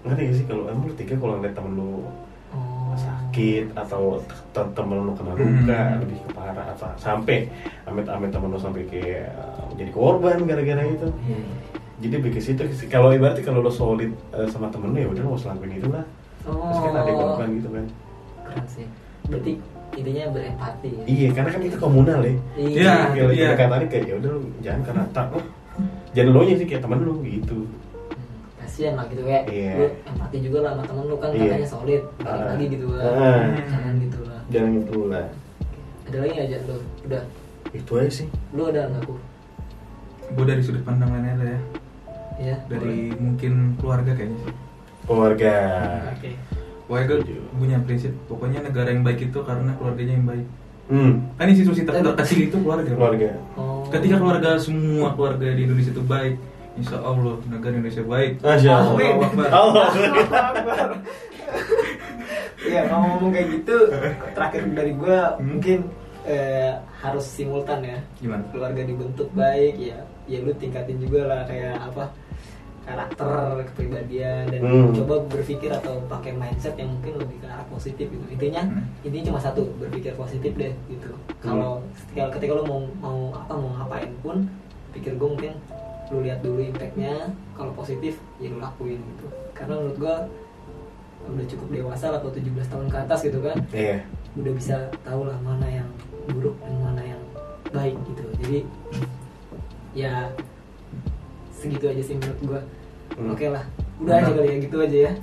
ngerti gak sih kalau emang lu tega kalau ngeliat temen lu
Oh.
sakit atau te- te- temen lu kena
Hmm.
luka lebih ke parah apa sampai amit-amit temen lu sampai kayak uh, jadi korban gara-gara itu jadi lebih ke situ sih. kalau ibaratnya kalau lo solid eh, sama temen lo ya udah lo nggak usah lakuin itu lah terus kan ada
Oh.
korban gitu kan
keren sih berarti intinya berempati ya?
iya karena kan itu komunal ya
Nah,
Iya,
Jadi kayak
iya.
pendekatannya kayak ya udah lo jangan karena tak lo jangan lo nya sih kayak temen lo gitu
Hmm, kasihan lah gitu kayak
Iya.
lu empati juga lah sama temen lu kan
Iya.
katanya solid balik
Ah.
lagi gitu lah
Ah.
jangan gitu lah
jangan gitu lah
ada lagi aja lu udah
itu aja sih
lu ada nggak aku
Gue dari sudut pandang lainnya lah ya.
ya
Dari mungkin keluarga kayaknya sih.
keluarga
boleh. oke
Pokoknya gue
Setuju.
punya prinsip, pokoknya negara yang baik itu karena keluarganya yang baik.
hmm
Kan institusi ter- terkecil itu keluarga.
keluarga
oh
Ketika keluarga semua keluarga di Indonesia itu baik, Insya Allah negara Indonesia baik.
Masya
Amin.
Allah. Allah.
Iya, kalau ngomong kayak gitu, terakhir dari gue mungkin eh, harus simultan ya.
Hmm. Gimana?
Keluarga dibentuk baik ya, ya lu tingkatin juga lah kayak apa karakter, kepribadian dan
Hmm.
coba berpikir atau pakai mindset yang mungkin lebih ke arah positif gitu. Intinya
Hmm.
intinya cuma satu, berpikir positif deh gitu. Kalau ketika, ketika lu mau mau apa mau ngapain pun, pikir gue mungkin lu lihat dulu impactnya kalau positif ya lu lakuin gitu karena menurut gua udah cukup dewasa lah kalau 17 tahun ke atas gitu kan
Iya.
udah bisa tahu lah mana yang buruk dan mana yang baik gitu jadi ya segitu aja sih menurut gua
Hmm.
oke lah udah aja kali ya gitu aja ya